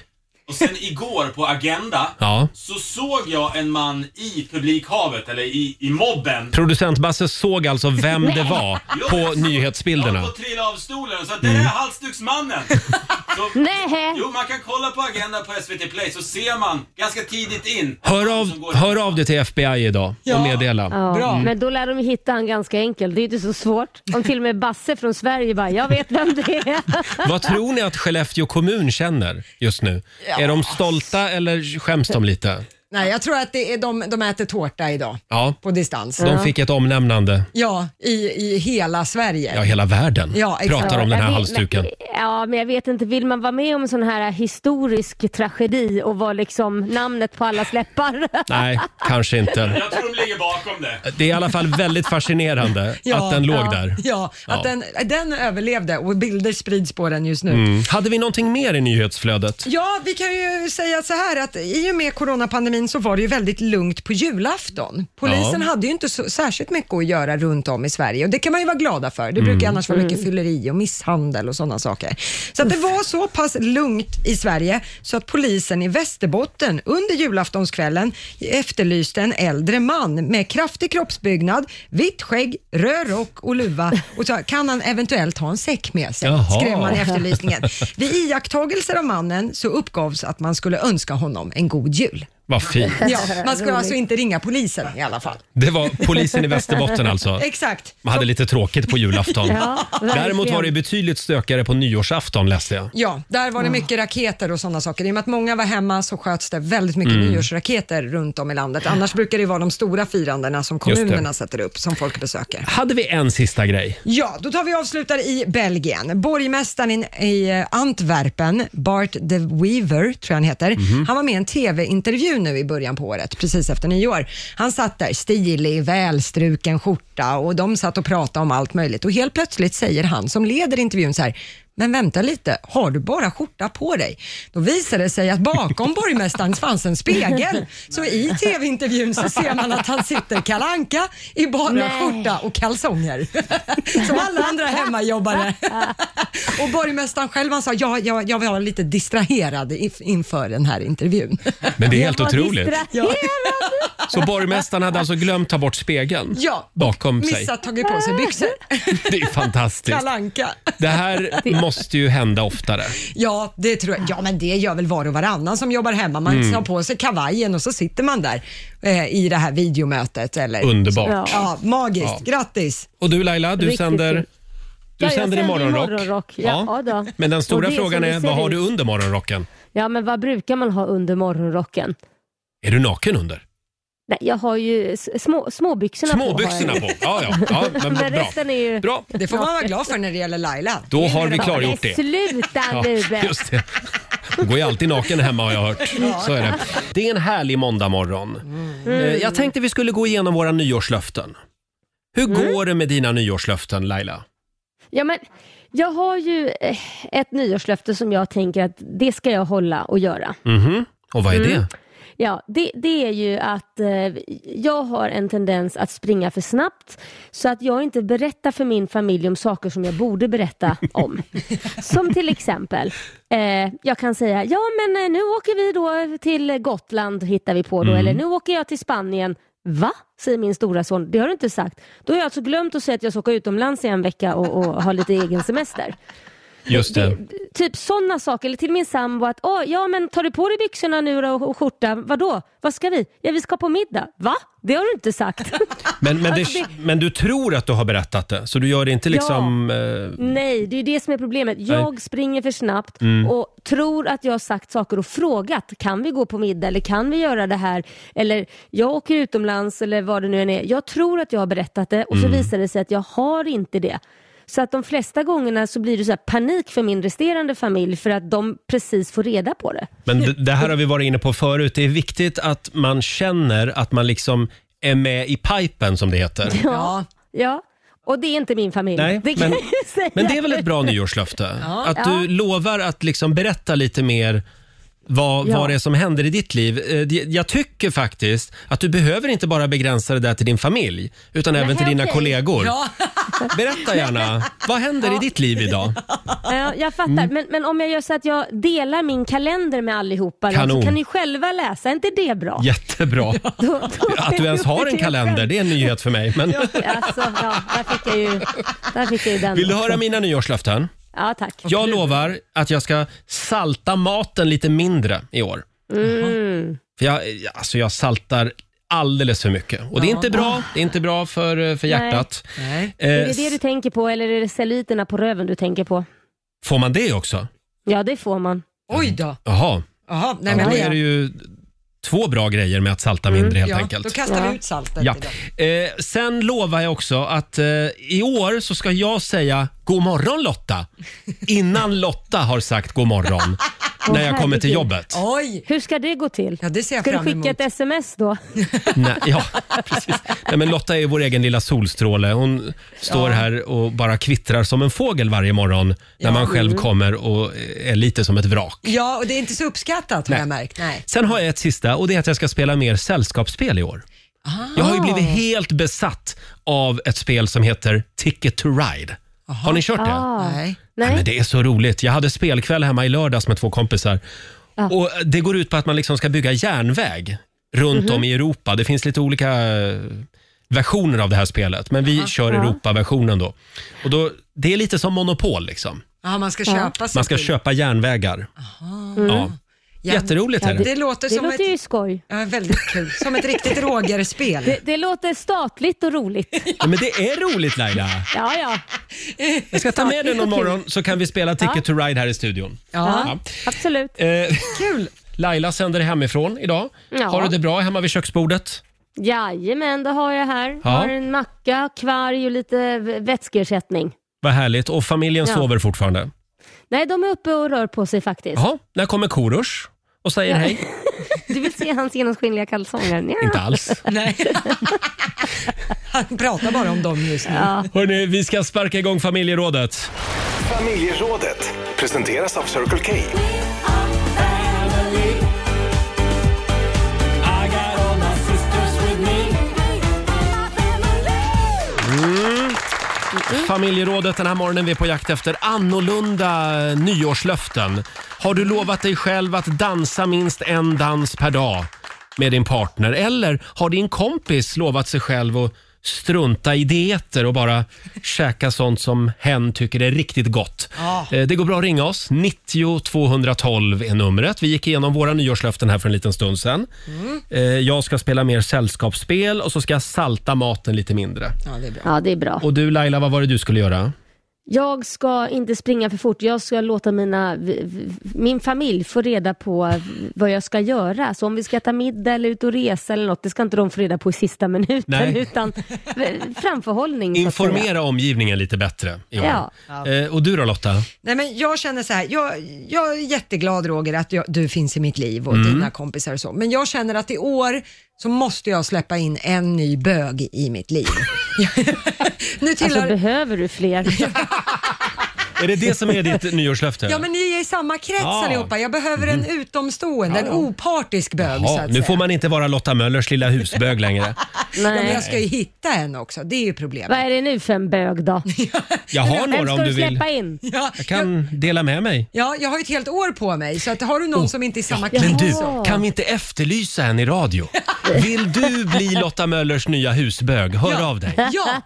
Speaker 5: Och sen igår på Agenda
Speaker 1: Ja.
Speaker 5: så såg jag en man i publikhavet, eller i, i mobben.
Speaker 1: Producent Basse såg alltså vem det var på
Speaker 5: Jag
Speaker 1: nyhetsbilderna.
Speaker 5: höll på att trilla av stolen och sa det där är
Speaker 1: Mm.
Speaker 5: halsduksmannen. Så, jo, man kan kolla på Agenda på SVT Play så ser man ganska tidigt in.
Speaker 1: Hör av, hör av dig till FBI idag och meddela.
Speaker 9: Ja,
Speaker 1: Mm.
Speaker 9: men då lär de ju hitta han ganska enkelt. Det är ju inte så svårt. Om till och med Basse från Sverige bara, jag vet vem det är.
Speaker 1: Vad tror ni att Skellefteå kommun känner just nu?
Speaker 2: Ja.
Speaker 1: Är de stolta eller skäms de lite?
Speaker 2: Nej, jag tror att det är de, de äter tårta idag
Speaker 1: Ja,
Speaker 2: på distans.
Speaker 1: de fick ett omnämnande.
Speaker 2: Ja, i, i hela Sverige.
Speaker 1: Ja, hela världen
Speaker 2: Ja, exakt.
Speaker 1: pratar om den här
Speaker 9: Jag vet-
Speaker 1: halsduken.
Speaker 9: Men, ja, men jag vet inte. Vill man vara med om en sån här historisk tragedi och vara liksom namnet på alla läppar?
Speaker 1: Nej, kanske inte.
Speaker 5: Jag tror de ligger bakom det.
Speaker 1: Det är i alla fall väldigt fascinerande
Speaker 2: Ja,
Speaker 1: att den låg
Speaker 2: ja,
Speaker 1: där.
Speaker 2: Ja,
Speaker 1: Ja.
Speaker 2: att Den, den överlevde och bilder sprids på den just nu.
Speaker 1: Mm. Hade vi någonting mer i nyhetsflödet?
Speaker 2: Ja, vi kan ju säga så här att i och med coronapandemin så var det ju väldigt lugnt på julafton. Polisen
Speaker 1: Ja.
Speaker 2: hade ju inte så, särskilt mycket att göra runt om i Sverige och det kan man ju vara glada för. Det brukar
Speaker 11: Mm.
Speaker 2: annars vara mycket
Speaker 11: Mm.
Speaker 2: fylleri och misshandel och sådana saker. Så att det var så pass lugnt i Sverige så att polisen i Västerbotten under julaftonskvällen efterlyste en äldre man med kraftig kroppsbyggnad, vitt skägg, röd rock och luva och så kan han eventuellt ha en säck med sig,
Speaker 11: Jaha.
Speaker 2: skrev man i efterlysningen. Vid iakttagelser av mannen så uppgavs att man skulle önska honom en god jul.
Speaker 1: Vad fint.
Speaker 2: Ja, man skulle alltså inte ringa polisen i alla fall.
Speaker 1: Det var polisen i Västerbotten alltså.
Speaker 2: Exakt.
Speaker 1: Man hade lite tråkigt på julafton.
Speaker 2: Ja, verkligen.
Speaker 1: Däremot var det betydligt stökigare på nyårsafton läste jag.
Speaker 2: Ja, där var det mycket raketer och sådana saker. I och med att många var hemma så sköts det väldigt mycket
Speaker 1: Mm.
Speaker 2: nyårsraketer runt om i landet. Annars brukar det ju vara de stora firandena som
Speaker 1: Just det.
Speaker 2: kommunerna sätter upp, som folk besöker.
Speaker 1: Hade vi en sista grej?
Speaker 2: Ja, då tar vi och avslutar i Belgien. Borgmästaren in, i eh, Antwerpen, Bart de Weaver, tror jag han heter,
Speaker 11: Mhm.
Speaker 2: han var med i en TV-intervju nu i början på året, precis efter nyår. Han satt där, stilig, välstruken skjorta och de satt och pratade om allt möjligt och helt plötsligt säger han som leder intervjun så här, men vänta lite, har du bara skjorta på dig? Då visar det sig att bakom borgmästaren fanns en spegel. Så i tv-intervjun så ser man att han sitter kalanka i bara
Speaker 11: Nej.
Speaker 2: skjorta och kalsonger. Som alla andra hemmajobbare. Och borgmästaren själv han sa, ja, jag, jag var lite distraherad if- inför den här intervjun.
Speaker 1: Men det är helt otroligt.
Speaker 2: Ja.
Speaker 1: Så borgmästaren hade alltså glömt ta bort spegeln
Speaker 2: Ja,
Speaker 1: bakom sig.
Speaker 2: missat tagit på sig byxor.
Speaker 1: Det är fantastiskt.
Speaker 2: Kalanka.
Speaker 1: Det här måste ju hända oftare.
Speaker 2: Ja, det tror jag. Ja, men det gör väl var och varannan som jobbar hemma. Man
Speaker 1: Mm.
Speaker 2: tar på sig kavajen och så sitter man där eh, i det här videomötet. Eller,
Speaker 1: Underbart.
Speaker 2: Ja, magiskt.
Speaker 1: Ja.
Speaker 2: Grattis.
Speaker 1: Och du Laila, du
Speaker 2: Riktigt
Speaker 1: sänder,
Speaker 2: fint.
Speaker 1: du
Speaker 9: Ja, jag
Speaker 1: sänder i
Speaker 9: sänder i
Speaker 1: morgonrock.
Speaker 9: morgonrock. Ja, då.
Speaker 1: Men den stora
Speaker 9: Och det är
Speaker 1: frågan
Speaker 9: som
Speaker 1: är,
Speaker 9: det ser
Speaker 1: vad har
Speaker 9: ut.
Speaker 1: du under morgonrocken?
Speaker 9: Ja, men vad brukar man ha under morgonrocken?
Speaker 1: Är du naken under?
Speaker 9: Nej, jag har ju s- små, småbyxorna på. har jag
Speaker 1: Småbyxorna
Speaker 9: ju.
Speaker 1: på. Ja, ja. ja men
Speaker 9: Men
Speaker 1: bra.
Speaker 9: resten är ju...
Speaker 1: Bra.
Speaker 2: Det får man vara glad för när det gäller Laila.
Speaker 1: Då har vi klargjort
Speaker 9: Nej,
Speaker 1: det.
Speaker 9: Sluta
Speaker 1: Ja,
Speaker 9: nu!
Speaker 1: just det. Hon går ju alltid naken hemma har jag hört.
Speaker 9: Ja. Mm.
Speaker 1: Så är det. Det är en härlig måndagmorgon. Eh, Jag tänkte vi skulle gå igenom våra nyårslöften. Hur
Speaker 9: Mm.
Speaker 1: går det med dina nyårslöften Laila?
Speaker 9: Ja, men jag har ju eh, ett nyårslöfte som jag tänker att det ska jag hålla och göra.
Speaker 1: Mhm. Och vad är
Speaker 9: Mm.
Speaker 1: det?
Speaker 9: Ja, det, det är ju att eh, jag har en tendens att springa för snabbt så att jag inte berättar för min familj om saker som jag borde berätta om. som till exempel, eh, jag kan säga, ja men eh, nu åker vi då till Gotland hittar vi på då,
Speaker 11: Mm.
Speaker 9: eller nu åker jag till Spanien. Va? säger min stora son. Det har du inte sagt. Då har jag alltså glömt att säga att jag ska åka utomlands i en vecka och, och ha lite egen semester.
Speaker 1: Just det.
Speaker 9: Typ sådana saker, eller till min sambo att, åh, ja men tar du på dig byxorna nu då och, och skjortan, vadå? Vad ska vi? Ja vi ska på middag. Va? Det har du inte sagt.
Speaker 1: Men, men, det,
Speaker 9: Alltså, det-
Speaker 1: men du tror att du har berättat det, så du gör det inte liksom... eh,
Speaker 9: Nej, det är ju det som är problemet. Jag
Speaker 1: Nej.
Speaker 9: springer för snabbt
Speaker 1: Mm.
Speaker 9: och tror att jag har sagt saker och frågat. Kan vi gå på middag eller kan vi göra det här? Eller jag åker utomlands eller vad det nu än är. Jag tror att jag har berättat det och så
Speaker 11: Mm.
Speaker 9: visar det sig att jag har inte det. Så att de flesta gångerna så blir det så här panik för min resterande familj för att de precis får reda på det.
Speaker 1: Men d- det här har vi varit inne på förut. Det är viktigt att man känner att man liksom är med i pipen som det heter.
Speaker 9: Ja. ja. Och det är inte min familj.
Speaker 1: Nej,
Speaker 9: det kan
Speaker 1: men,
Speaker 9: jag ju säga.
Speaker 1: men det är väl ett bra nyårslöfte?
Speaker 9: Ja.
Speaker 1: Att du
Speaker 9: Ja.
Speaker 1: lovar att liksom berätta lite mer vad,
Speaker 9: Ja.
Speaker 1: vad det är som händer i ditt liv. Eh, det- Jag tycker faktiskt att du behöver inte bara begränsa det där till din familj, utan även till
Speaker 9: Nej,
Speaker 1: dina
Speaker 9: okej.
Speaker 1: kollegor.
Speaker 9: Ja.
Speaker 1: Berätta gärna, vad händer i ditt liv idag?
Speaker 9: Ja, jag fattar.
Speaker 1: Mm.
Speaker 9: Men, men om jag gör så att jag delar min kalender med allihopa då,
Speaker 1: Kanon.
Speaker 9: så kan ni själva läsa. Är inte det bra?
Speaker 1: Jättebra.
Speaker 9: Då- då-
Speaker 1: Att du ens har en kalender, det är en nyhet för mig. Men
Speaker 9: Alltså, ja, där fick jag ju, där fick jag ju den.
Speaker 1: vill du
Speaker 9: också.
Speaker 1: höra mina nyårslöften?
Speaker 9: Ja, tack.
Speaker 1: Jag lovar att jag ska salta maten lite mindre i år.
Speaker 9: Mm.
Speaker 1: För jag, alltså jag saltar alldeles för mycket. Och det är
Speaker 9: Ja.
Speaker 1: inte bra. Det är inte bra för, för hjärtat. Eh,
Speaker 9: Är det det du tänker på eller är det celluliterna på röven du tänker på?
Speaker 1: Får man det också?
Speaker 9: Ja, det får man.
Speaker 2: Oj då!
Speaker 1: Jaha.
Speaker 2: Jaha,
Speaker 1: Nej, men då är det ju två bra grejer med att salta
Speaker 9: Mm,
Speaker 1: mindre helt
Speaker 2: ja,
Speaker 1: enkelt.
Speaker 2: Då kastar vi ut saltet
Speaker 1: Ja.
Speaker 2: idag.
Speaker 1: Eh, sen lovar jag också att eh, i år så ska jag säga god morgon Lotta innan Lotta har sagt god morgon när jag kommer till jobbet.
Speaker 2: Oj.
Speaker 9: Hur ska det gå till?
Speaker 2: Ja, det ser jag
Speaker 9: ska
Speaker 2: fram
Speaker 9: du skicka
Speaker 2: emot.
Speaker 9: ett sms då?
Speaker 1: Nej, ja, precis. Nej, men Lotta är vår egen lilla solstråle. Hon står
Speaker 9: Ja.
Speaker 1: här och bara kvittrar som en fågel varje morgon när
Speaker 2: Ja.
Speaker 1: man själv
Speaker 2: Mm.
Speaker 1: kommer och är lite som ett vrak.
Speaker 2: Ja, och det är inte så uppskattat har jag märkt. Nej.
Speaker 1: Sen har jag ett sista och det är att jag ska spela mer sällskapsspel i år. Jag har ju blivit helt besatt av ett spel som heter Ticket to Ride. Har ni kört det?
Speaker 9: Ah. Nej.
Speaker 1: Nej, men det är så roligt. Jag hade spelkväll hemma i lördags med två kompisar. Och Det går ut på att man liksom ska bygga järnväg runt
Speaker 9: Mhm.
Speaker 1: om i Europa. Det finns lite olika eh, versioner av det här spelet, men vi kör
Speaker 2: Ja.
Speaker 1: Europaversionen då. Och då. Det är lite som Monopol. Liksom.
Speaker 2: Ja, man ska
Speaker 9: Ja.
Speaker 2: köpa sig
Speaker 1: Man ska
Speaker 2: till.
Speaker 1: köpa järnvägar.
Speaker 2: Mm.
Speaker 1: Ja. Jätteroligt är det.
Speaker 2: Det låter
Speaker 9: Det
Speaker 2: som
Speaker 9: låter
Speaker 2: ett...
Speaker 9: ju skoj.
Speaker 2: Ja, väldigt kul. Som ett riktigt rågerspel.
Speaker 9: Det, det låter statligt och roligt.
Speaker 1: Ja, men det är roligt Laila.
Speaker 9: Ja, ja.
Speaker 1: Jag ska ta med dig någon morgon så kan vi spela Ticket
Speaker 9: Ja.
Speaker 1: to Ride här i studion.
Speaker 9: Ja, absolut.
Speaker 1: Eh,
Speaker 2: Kul!
Speaker 1: Laila sänder hemifrån idag.
Speaker 9: Ja.
Speaker 1: Har du det bra hemma vid köksbordet?
Speaker 9: Jajamän, det har jag här.
Speaker 1: Ja.
Speaker 9: Har en macka, kvarg och lite v- vätskeersättning.
Speaker 1: Vad härligt. Och familjen
Speaker 9: Ja.
Speaker 1: sover fortfarande?
Speaker 9: Nej, de är uppe och rör på sig faktiskt.
Speaker 1: Jaha, när kommer Korosh och säger
Speaker 9: Ja.
Speaker 1: hej?
Speaker 9: Du vill se hans genomskinliga kalsonger? Nja.
Speaker 1: Inte alls.
Speaker 2: Nej. Han pratar bara om dem just nu.
Speaker 1: Hörni, vi ska sparka igång familjerådet.
Speaker 3: Familjerådet presenteras av Circle K.
Speaker 1: Mm. Familjerådet den här morgonen, vi är på jakt efter annorlunda nyårslöften. Har du lovat dig själv att dansa minst en dans per dag med din partner? Eller har din kompis lovat sig själv att strunta i dieter och bara käka sånt som hen tycker är riktigt gott?
Speaker 2: Ja.
Speaker 1: Eh, Det går bra att ringa oss. 90 212 är numret. Vi gick igenom våra nyårslöften här för en liten stund sedan. Eh, Jag ska spela mer sällskapsspel och så ska jag salta maten lite mindre.
Speaker 2: Ja, det är bra.
Speaker 9: Ja, det är bra.
Speaker 1: Och du Laila, vad var det du skulle göra?
Speaker 9: Jag ska inte springa för fort. Jag ska låta mina, v- v- min familj få reda på v- vad jag ska göra. Så om vi ska äta middag eller ut och resa eller något, det ska inte de få reda på i sista minuten.
Speaker 1: Nej.
Speaker 9: Utan v- framförhållning. så att säga.
Speaker 1: Informera omgivningen lite bättre i år.
Speaker 9: Ja.
Speaker 1: Eh, Och du då Lotta?
Speaker 2: Nej, men jag känner så här, jag, jag är jätteglad Roger att jag, du finns i mitt liv och
Speaker 1: Mm.
Speaker 2: dina kompisar och så, men jag känner att i år så måste jag släppa in en ny bög i mitt liv. nu tillhör...
Speaker 9: Alltså behöver du fler?
Speaker 1: Är det det som är ditt nyårslöfte?
Speaker 2: Ja men ni är i samma krets
Speaker 1: Ja. Mm.
Speaker 2: allihopa. Jag behöver en utomstående, en opartisk bög så
Speaker 1: Ja,
Speaker 2: att
Speaker 1: nu
Speaker 2: säga.
Speaker 1: får man inte vara Lotta Möllers lilla husbög längre.
Speaker 2: Ja, men jag ska ju hitta en också, det är ju problemet.
Speaker 9: Vad är det nu för en bög då?
Speaker 1: Jag har några om du
Speaker 9: Vem ska du
Speaker 1: vill.
Speaker 9: släppa in?
Speaker 2: Ja,
Speaker 1: Jag kan dela med mig.
Speaker 2: ja, jag har ju ett helt år på mig, så att, har du någon som inte är i samma krets
Speaker 1: Oh. Men du,
Speaker 2: så-
Speaker 1: kan vi inte efterlysa en i radio? Vill du bli Lotta Möllers nya husbög? Hör av dig.
Speaker 2: Ja,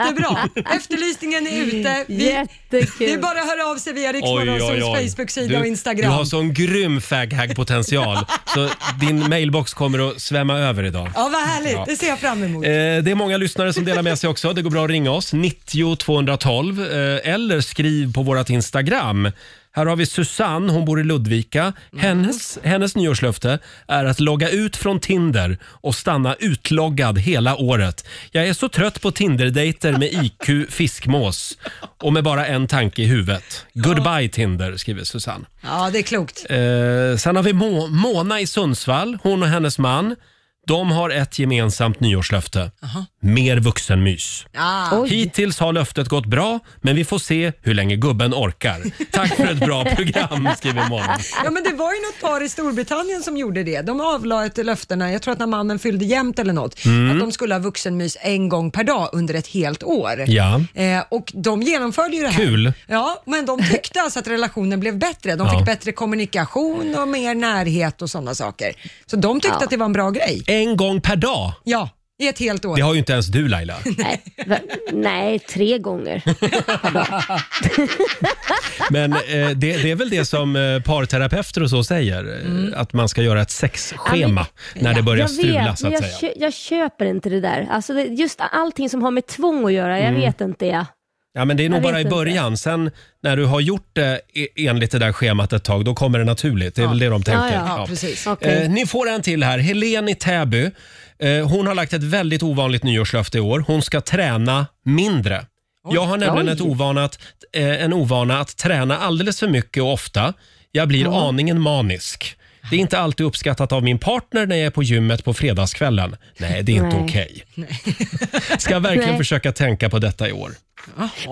Speaker 2: jättebra. Efterlysningen är ute. Vi,
Speaker 9: Jättekul.
Speaker 2: Det är bara att höra av sig via Riksmorgonsols Facebook-sida
Speaker 1: Du-
Speaker 2: och
Speaker 1: Du har
Speaker 2: Instagram.
Speaker 1: sån grym faghag-potential så din mailbox kommer att svämma över idag.
Speaker 2: Ja, vad härligt.
Speaker 1: Ja.
Speaker 2: Det ser jag fram emot.
Speaker 1: Eh, Det är många lyssnare som delar med sig också. Det går bra att ringa oss, 90 212 eh, eller skriv på vårt Instagram. Här har vi Susanne, hon bor i Ludvika. Hennes, hennes nyårslöfte är att logga ut från Tinder och stanna utloggad hela året. Jag är så trött på Tinder-dejter med IQ fiskmås och med bara en tanke i huvudet. Goodbye Tinder, skriver Susanne.
Speaker 2: Ja, det är klokt.
Speaker 1: Eh, sen har vi Mo- Mona i Sundsvall, hon och hennes man. De har ett gemensamt nyårslöfte. Mer vuxenmys.
Speaker 2: Ah. Oj.
Speaker 1: Hittills har löftet gått bra, men vi får se hur länge gubben orkar. Tack för ett bra program, skriver Mona.
Speaker 2: Ja, men det var ju något par i Storbritannien som gjorde det. De avlade ett löftena, jag tror att när mannen fyllde jämnt eller något,
Speaker 1: Mm.
Speaker 2: att de skulle ha vuxenmys en gång per dag under ett helt år.
Speaker 1: Ja.
Speaker 2: Eh, och de genomförde ju det här.
Speaker 1: Kul.
Speaker 2: Ja, men de tyckte alltså att relationen blev bättre. De
Speaker 1: Ja.
Speaker 2: fick bättre kommunikation och mer närhet och sådana saker. Så de tyckte
Speaker 1: Ja.
Speaker 2: att det var en bra grej.
Speaker 1: En gång per dag?
Speaker 2: Ja, i ett helt år.
Speaker 1: Det har ju inte ens du Laila.
Speaker 9: Nej, va- nej tre gånger.
Speaker 1: Men eh, det, det är väl det som eh, parterapeuter och så säger, eh, att man ska göra ett sexschema när det börjar
Speaker 9: Mm. jag
Speaker 1: strula
Speaker 9: vet,
Speaker 1: så att
Speaker 9: men
Speaker 1: säga.
Speaker 9: jag, kö- jag köper inte det där. Alltså det, just allting som har med tvång att göra, jag
Speaker 1: Mm.
Speaker 9: vet inte. Ja.
Speaker 1: Ja, men det är nog
Speaker 9: Jag vet
Speaker 1: bara i
Speaker 9: inte.
Speaker 1: början. Sen när du har gjort det e- enligt det där schemat ett tag, då kommer det naturligt. Det är väl det de tänker. Ja.
Speaker 2: precis.
Speaker 1: Eh, ni får en till här. Helene i Täby. Eh, hon har lagt ett väldigt ovanligt nyårslöfte i år. Hon ska träna mindre. Jag har nämligen
Speaker 5: Oj.
Speaker 1: ett ovana att, eh, en ovana att träna alldeles för mycket och ofta. Jag blir
Speaker 5: Ja.
Speaker 1: aningen manisk. Det är inte alltid uppskattat av min partner när jag är på gymmet på fredagskvällen. Nej, det är inte
Speaker 9: Nej.
Speaker 1: okej. Ska verkligen
Speaker 9: Nej.
Speaker 1: försöka tänka på detta i år.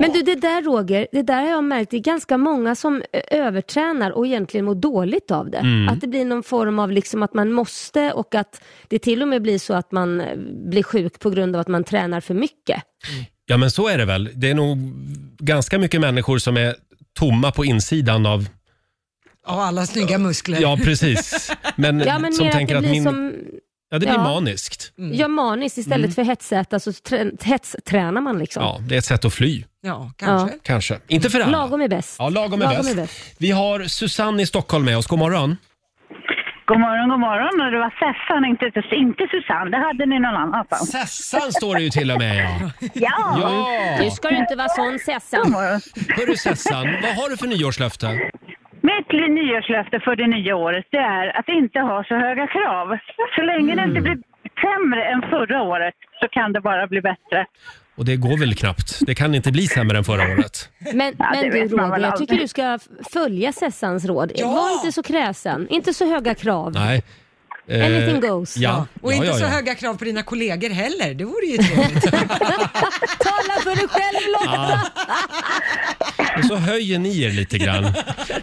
Speaker 9: Men du, det där Roger, det där har jag märkt, det är ganska många som eh, övertränar och egentligen mår dåligt av det.
Speaker 1: Mm.
Speaker 9: Att det blir någon form av liksom att man måste och att det till och med blir så att man eh, blir sjuk på grund av att man tränar för mycket.
Speaker 1: Ja, men så är det väl. Det är nog ganska mycket människor som är tomma på insidan av...
Speaker 2: Ja, alla snygga muskler.
Speaker 1: Ja, precis. Men,
Speaker 9: Ja, men
Speaker 1: som
Speaker 9: mer att
Speaker 1: tänker
Speaker 9: det
Speaker 1: att,
Speaker 9: blir
Speaker 1: min...
Speaker 9: som-
Speaker 1: Ja, det blir
Speaker 9: Ja.
Speaker 1: maniskt.
Speaker 9: Ja, maniskt istället
Speaker 1: Mm.
Speaker 9: för hetsäta så trä- hetstränar man liksom.
Speaker 1: Ja, det är ett sätt att fly.
Speaker 2: Ja,
Speaker 9: kanske.
Speaker 1: Kanske. Inte för alla.
Speaker 9: Lagom är bäst.
Speaker 1: Ja, lagom är
Speaker 9: Lagom
Speaker 1: bäst.
Speaker 9: är bäst.
Speaker 1: Vi har Susanne i Stockholm med oss. God morgon.
Speaker 11: God morgon, god morgon. Och det var Sessan, inte, inte Susanne. Det hade ni någon annanstans.
Speaker 1: Sessan står det ju till och med. Ja.
Speaker 11: Ja!
Speaker 1: Ja.
Speaker 9: Nu ska du inte vara sån Sessan.
Speaker 1: Hörru Sessan, vad har du för nyårslöfte?
Speaker 11: Mitt li- nyårslöfte för det nya året det är att inte ha så höga krav. Så länge det
Speaker 10: Mm.
Speaker 11: inte blir sämre än förra året så kan det bara bli bättre.
Speaker 1: Och det går väl knappt. Det kan inte bli sämre än förra året.
Speaker 9: Men,
Speaker 11: Ja, det
Speaker 9: men du
Speaker 11: vet man
Speaker 9: Roger,
Speaker 11: väl
Speaker 9: jag
Speaker 11: aldrig.
Speaker 9: tycker du ska f- följa Sessans råd. Var inte så kräsen, inte så höga krav.
Speaker 1: Nej. Eh,
Speaker 9: Anything goes.
Speaker 1: Ja.
Speaker 2: Och
Speaker 1: ja,
Speaker 2: inte
Speaker 1: ja,
Speaker 2: så
Speaker 1: ja.
Speaker 2: höga krav på dina kollegor heller. Det vore ju trevligt.
Speaker 9: Tala för dig själv
Speaker 1: Ja. Och så höjer ni er lite grann.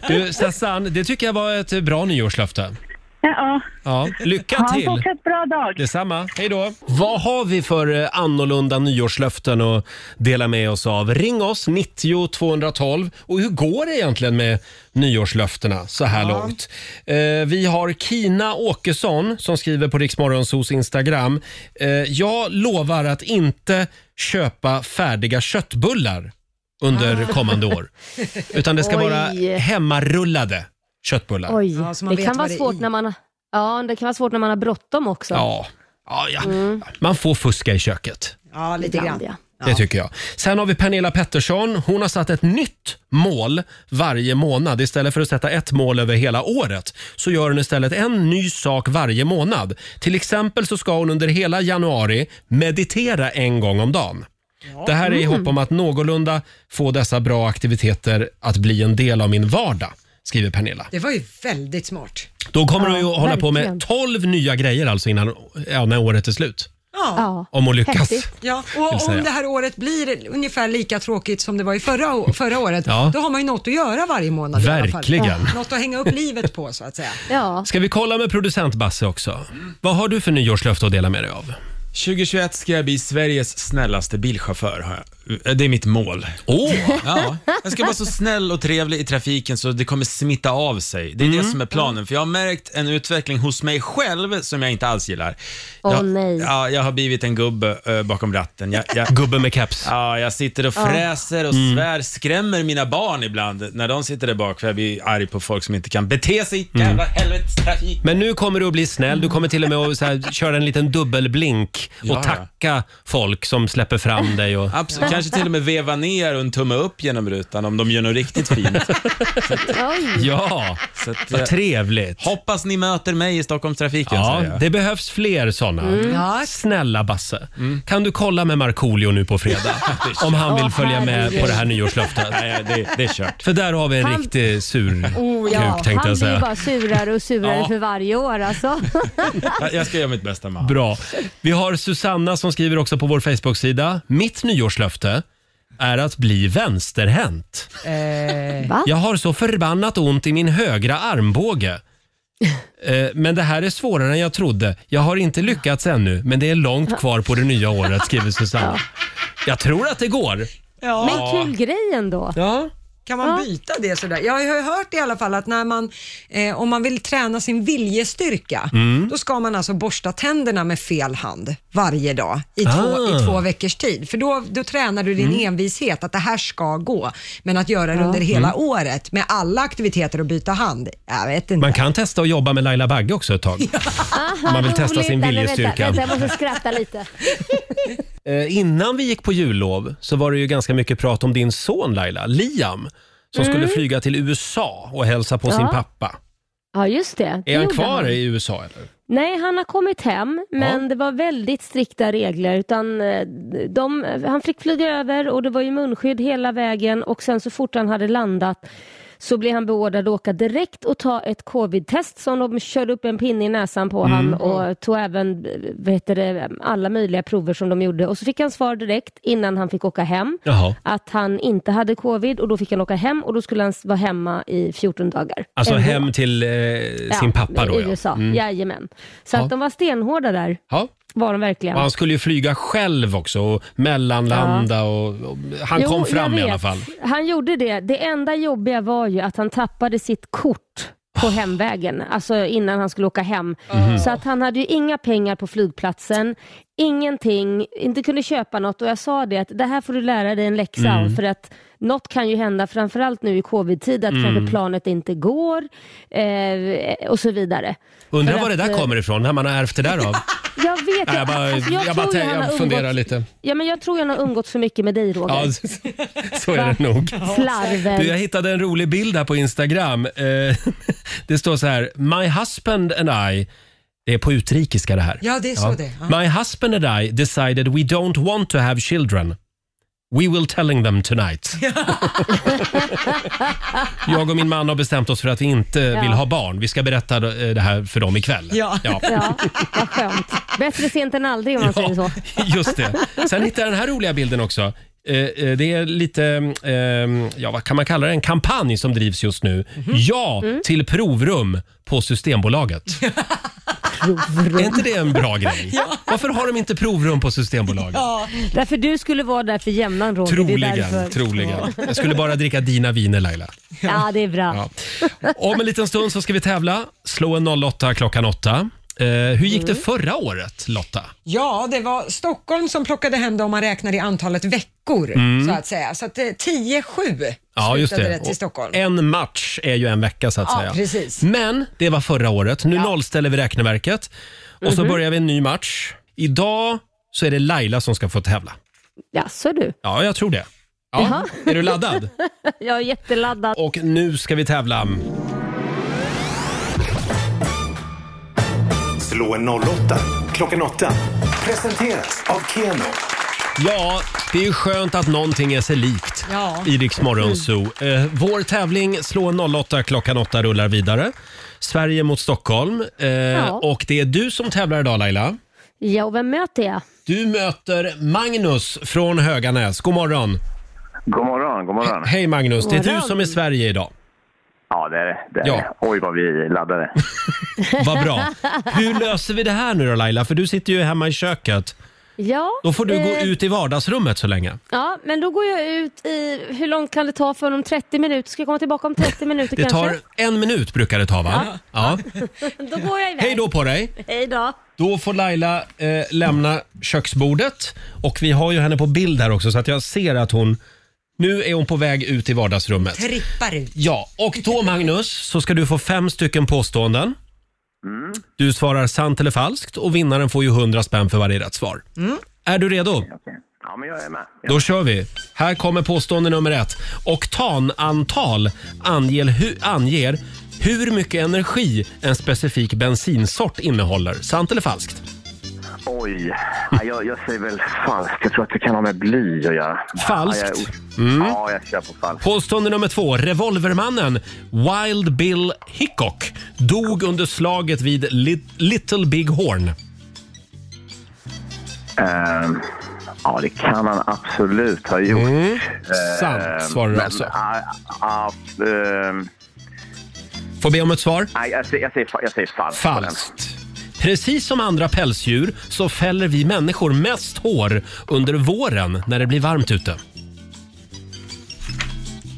Speaker 1: Du, Sassan, det tycker jag var ett bra nyårslöfte.
Speaker 11: Ja,
Speaker 1: Ja, lycka
Speaker 11: ha en
Speaker 1: till!
Speaker 11: fortsatt bra dag.
Speaker 1: Detsamma, hej då! Vad har vi för eh, annorlunda nyårslöften att dela med oss av? Ring oss, 90 212. Och hur går det egentligen med nyårslöftena så här långt? Eh, vi har Kina Åkesson som skriver på Riksmorgonsos Instagram. Eh, jag lovar att inte köpa färdiga köttbullar under kommande år. Utan det ska
Speaker 9: Oj.
Speaker 1: vara hemmarullade köttbullar.
Speaker 9: Oj,
Speaker 2: man
Speaker 9: det
Speaker 2: vet
Speaker 9: kan vara
Speaker 2: vad det är
Speaker 9: svårt när man har... Ja, det kan vara svårt när man har bråttom också.
Speaker 1: Ja. Ja, ja.
Speaker 9: Mm.
Speaker 1: Man får fuska i köket.
Speaker 2: Ja, lite
Speaker 9: Ibland,
Speaker 2: grann.
Speaker 1: Det tycker jag. Sen har vi Pernilla Pettersson. Hon har satt ett nytt mål varje månad. Istället för att sätta ett mål över hela året så gör hon istället en ny sak varje månad. Till exempel så ska hon under hela januari meditera en gång om dagen. Det här är i
Speaker 2: Mm.
Speaker 1: hopp om att någorlunda få dessa bra aktiviteter att bli en del av min vardag, skriver Pernilla.
Speaker 2: Det var ju väldigt smart.
Speaker 1: Då kommer
Speaker 2: Ja,
Speaker 1: hon ju att hålla på
Speaker 2: verkligen.
Speaker 1: med 12 nya grejer alltså innan, ja, när året är slut.
Speaker 2: Ja.
Speaker 1: Om hon lyckas. Häftigt.
Speaker 2: Ja,
Speaker 1: Vill
Speaker 2: och
Speaker 1: säga.
Speaker 2: om det här året blir ungefär lika tråkigt som det var i förra, å- förra året,
Speaker 1: Ja.
Speaker 2: då har man ju något att göra varje månad i alla
Speaker 1: Verkligen.
Speaker 2: fall. Ja. Något att hänga upp livet på så att säga.
Speaker 9: Ja.
Speaker 1: Ska vi kolla med producent Basse också? Vad har du för nyårslöfte att dela med dig av?
Speaker 5: 2021 ska jag bli Sveriges snällaste bilchaufför. Har jag. Det är mitt mål.
Speaker 1: Åh!
Speaker 5: Ja, jag ska vara så snäll och trevlig i trafiken så det kommer smitta av sig. Det är
Speaker 9: Mm.
Speaker 5: det som är planen. För jag har märkt en utveckling hos mig själv som jag inte alls gillar.
Speaker 9: Åh,
Speaker 5: jag,
Speaker 9: nej.
Speaker 5: Ja, jag har blivit en gubbe eh, bakom ratten. Jag, jag,
Speaker 1: gubbe med keps.
Speaker 5: Ja, jag sitter och
Speaker 9: Ja. Mm.
Speaker 5: fräser och svär, skrämmer mina barn ibland när de sitter där bak för jag blir arg på folk som inte kan bete sig
Speaker 9: Mm.
Speaker 5: i jävla helvetes trafik.
Speaker 1: Men nu kommer du att bli snäll. Du kommer till och med att så här, köra en liten dubbelblink musik och
Speaker 5: Ja, ja.
Speaker 1: tacka folk som släpper fram dig. Och...
Speaker 5: Absolut. Kanske till och med veva ner och en tumme upp genom rutan om de gör något riktigt fint. eh,
Speaker 1: Ja, vad trevligt.
Speaker 5: Hoppas ni möter mig i Stockholmstrafiken.
Speaker 1: Ja,
Speaker 5: säger jag.
Speaker 1: det behövs fler sådana.
Speaker 5: Mm. Ja.
Speaker 1: Snälla Basse,
Speaker 5: Mm.
Speaker 1: kan du kolla med Markoolio nu på fredag? om han vill
Speaker 5: Åh,
Speaker 1: följa med
Speaker 5: herregud.
Speaker 1: på det här nyårslöftet.
Speaker 5: Nej, det, det är kört.
Speaker 1: För där har vi en
Speaker 9: Han-
Speaker 1: riktig sur
Speaker 9: Oh, ja.
Speaker 1: kuk tänkte
Speaker 9: Han
Speaker 1: jag
Speaker 9: blir ju
Speaker 1: säga.
Speaker 9: bara surare och surare
Speaker 1: Ja.
Speaker 9: för varje år alltså.
Speaker 5: Jag- Jag ska göra mitt bästa med
Speaker 1: Bra. Vi har Susanna som skriver också på vår Facebook-sida. Mitt nyårslöfte är att bli vänsterhänt.
Speaker 9: Va?
Speaker 1: Jag har så förbannat ont i min högra armbåge. Eh, Men det här är svårare än jag trodde. Jag har inte lyckats ännu, men det är långt kvar på det nya året, skriver Susanna. Jag tror att det går.
Speaker 9: Men kul grej ändå.
Speaker 1: Ja.
Speaker 2: Kan man byta det sådär? Jag har ju hört i alla fall att när man, eh, om man vill träna sin viljestyrka,
Speaker 9: Mm.
Speaker 2: då ska man alltså borsta tänderna med fel hand varje dag i två,
Speaker 9: Ah.
Speaker 2: i två veckors tid. För då, då tränar du din envishet att det här ska gå. Men att göra det
Speaker 1: Mm. Ja.
Speaker 2: under hela
Speaker 1: Mm.
Speaker 2: året med alla aktiviteter och byta hand, jag vet inte.
Speaker 1: Man kan testa att jobba med Laila Bagge också ett tag. Om man vill testa sin
Speaker 9: Vänta,
Speaker 1: viljestyrka.
Speaker 9: Vänta, vänta, jag måste skratta lite.
Speaker 1: Eh, Innan vi gick på jullov så var det ju ganska mycket prat om din son Laila, Liam, som
Speaker 9: Mm.
Speaker 1: skulle flyga till USA och hälsa på sin
Speaker 9: Ja.
Speaker 1: pappa.
Speaker 9: Ja, just det. Det
Speaker 1: Är han
Speaker 9: gjorde
Speaker 1: kvar
Speaker 9: han.
Speaker 1: i USA eller?
Speaker 9: Nej, han har kommit hem, men
Speaker 1: Ja.
Speaker 9: det var väldigt strikta regler. Utan eh, de, han fick flyga över och det var ju munskydd hela vägen och sen så fort han hade landat så blev han beordrad att åka direkt och ta ett covid-test som de körde upp en pinne i näsan på
Speaker 13: Mm.
Speaker 9: han och tog även eh, vad heter det, alla möjliga prover som de gjorde och så fick han svar direkt innan han fick åka hem
Speaker 1: Jaha.
Speaker 9: att han inte hade covid och då fick han åka hem och då skulle han vara hemma i 14 dagar.
Speaker 1: Alltså
Speaker 9: Ändå.
Speaker 1: hem till eh, sin pappa då
Speaker 9: I USA,
Speaker 1: Mm.
Speaker 9: jajamän. Så
Speaker 1: Ja.
Speaker 9: att de var stenhårda där.
Speaker 1: Ja.
Speaker 9: Var de verkligen.
Speaker 1: Och han skulle ju flyga själv också och mellanlanda och, och han
Speaker 9: Jo,
Speaker 1: kom
Speaker 9: jag
Speaker 1: fram i
Speaker 9: vet.
Speaker 1: alla fall.
Speaker 9: Han gjorde det. Det enda jobbiga var ju att han tappade sitt kort
Speaker 1: Ah.
Speaker 9: på hemvägen, alltså innan han skulle åka hem.
Speaker 1: Mm-hmm.
Speaker 13: Mhm.
Speaker 9: Så att han hade ju inga pengar på flygplatsen, ingenting, inte kunde köpa något och jag sa det att det här får du lära dig en läxa av
Speaker 13: Mm.
Speaker 9: för att något kan ju hända, framförallt nu i covid-tid, att
Speaker 1: Mm.
Speaker 9: kanske planet inte går eh, och så vidare.
Speaker 1: Undrar
Speaker 9: För
Speaker 1: var det
Speaker 9: att,
Speaker 1: där
Speaker 9: eh,
Speaker 1: kommer ifrån, när man har ärvt det där av.
Speaker 9: Jag vet,
Speaker 1: Nej, jag bara,
Speaker 9: alltså,
Speaker 1: jag bara
Speaker 9: tror ju
Speaker 1: tänker-
Speaker 9: han har
Speaker 1: jag funderar
Speaker 9: umgåtts-
Speaker 1: lite.
Speaker 9: Ja, men jag tror jag har umgått för mycket med dig Roger.
Speaker 1: Ja, så är det nog.
Speaker 9: Slarven.
Speaker 1: Du, jag hittade en rolig bild här på Instagram. Eh, Det står så här, My husband and I det är på utrikiska det här.
Speaker 2: Ja, det är så det är. Ja.
Speaker 1: My husband and I decided we don't want to have children. We will telling them tonight. Jag och min man har bestämt oss för att vi inte
Speaker 9: Ja.
Speaker 1: vill ha barn. Vi ska berätta eh, det här för dem ikväll.
Speaker 9: Ja. vad skönt. Bättre sent än aldrig om man säger så.
Speaker 1: Just det. Sen hittade jag den här roliga bilden också. Eh, eh, Det är lite, eh, ja vad kan man kalla det, en kampanj som drivs just nu.
Speaker 9: Mhm.
Speaker 1: Ja
Speaker 9: Mm.
Speaker 1: till provrum på Systembolaget. Är inte det en bra grej? Varför har de inte provrum på Systembolaget?
Speaker 9: Ja. Därför du skulle vara där för jämnan Roger. Det är
Speaker 1: Troligen,
Speaker 9: därför.
Speaker 1: troligen. Jag skulle bara dricka dina viner Laila.
Speaker 9: Ja, det är bra.
Speaker 1: Ja. Om en liten stund så ska vi tävla. Slå en 08 klockan 8. Eh, hur gick
Speaker 9: Mm.
Speaker 1: det förra året Lotta?
Speaker 2: Ja, det var Stockholm som plockade hem det om man räknar i antalet veckor,
Speaker 1: Mm.
Speaker 2: så att säga. Så att eh, 10-7
Speaker 1: Ja, just
Speaker 2: slutade
Speaker 1: det.
Speaker 2: till Stockholm.
Speaker 1: Och En match är ju en vecka så att
Speaker 2: Ja,
Speaker 1: säga.
Speaker 2: precis.
Speaker 1: Men det var förra året. Nu nollställer vi räkneverket och så
Speaker 9: Mhm.
Speaker 1: börjar vi en ny match. Idag så är det Laila som ska få tävla.
Speaker 9: Jaså du?
Speaker 1: Ja, jag tror det. Ja.
Speaker 9: Jaha.
Speaker 1: Är du laddad?
Speaker 9: Jag är jätteladdad.
Speaker 1: Och nu ska vi tävla.
Speaker 3: Slå en 08 klockan 8. Presenteras av Keno.
Speaker 1: Ja, det är ju skönt att någonting är sig likt
Speaker 3: Ja.
Speaker 1: i Rix Morgon Zoo. Eh, vår tävling Slå 08 klockan 8 rullar vidare. Sverige mot Stockholm. Eh,
Speaker 9: Ja.
Speaker 1: Och det är du som tävlar idag Laila.
Speaker 9: Ja, och vem möter jag?
Speaker 1: Du möter Magnus från Höganäs. God morgon.
Speaker 14: God morgon, god morgon.
Speaker 1: Hej Magnus, det är du
Speaker 14: Morgon.
Speaker 1: som är Sverige idag.
Speaker 14: Ja, det är det. det, är
Speaker 1: Ja.
Speaker 14: det. Oj, vad vi är laddade.
Speaker 1: Vad bra. Hur löser vi det här nu då Laila? För du sitter ju hemma i köket.
Speaker 9: Ja,
Speaker 1: Då får du gå
Speaker 9: eh,
Speaker 1: ut i vardagsrummet så länge.
Speaker 9: Ja, men då går jag ut i, hur långt kan det ta för honom? 30 minuter? Ska jag komma tillbaka om 30 minuter
Speaker 1: Det tar
Speaker 9: kanske?
Speaker 1: en minut brukar det ta va?
Speaker 9: Ja.
Speaker 1: Ja.
Speaker 9: Då går jag iväg.
Speaker 1: Hej då på dig.
Speaker 9: Hej då.
Speaker 1: Då får Laila eh, lämna köksbordet. Och vi har ju henne på bild här också så att jag ser att hon... Nu är hon på väg ut i vardagsrummet.
Speaker 2: Trippar ut.
Speaker 1: Ja, och då Magnus så ska du få fem stycken påståenden. Du svarar sant eller falskt och vinnaren får ju 100 spänn för varje rätt svar. Är du redo?
Speaker 14: Mm. Ja, men jag är med.
Speaker 1: Då kör vi. Här kommer påstående nummer ett. Oktanantal anger, hu, anger hur mycket energi en specifik bensinsort innehåller. Sant eller falskt?
Speaker 14: Oj, ja, jag, jag säger väl falskt. Jag tror att det kan ha med bly att
Speaker 5: Mm.
Speaker 14: göra.
Speaker 1: Falskt?
Speaker 14: Ja, jag,
Speaker 1: Mm.
Speaker 14: ja, jag kör på falskt.
Speaker 1: Påstående nummer två. Revolvermannen Wild Bill Hickok dog under slaget vid Lit- Little Big
Speaker 14: Eh,
Speaker 1: Horn.
Speaker 14: Ehm, ja, det kan han absolut ha gjort.
Speaker 1: Mm.
Speaker 14: Ehm,
Speaker 1: Sant svarar du
Speaker 14: men,
Speaker 1: alltså.
Speaker 14: ja, ja, ehm,
Speaker 1: Får be om ett svar?
Speaker 14: nej, jag, säger, jag, säger, fa- jag säger falskt. på den.
Speaker 1: Falskt. Precis som andra pälsdjur så fäller vi människor mest hår under våren när det blir varmt ute.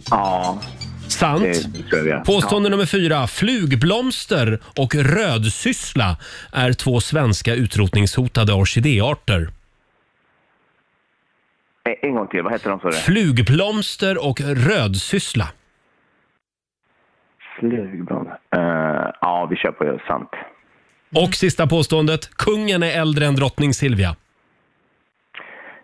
Speaker 14: Ja.
Speaker 1: Sant.
Speaker 14: Det tror jag.
Speaker 1: Påstående nummer fyra. Flugblomster och rödsyssla är två svenska utrotningshotade orkidéarter.
Speaker 14: Ja. En- En gång till, vad heter de? sa du?
Speaker 1: Flugblomster och rödsyssla.
Speaker 14: Flugblom. Ehm, ja, vi kör på sant.
Speaker 1: Mm. Och sista påståendet. Kungen är äldre än drottning Silvia.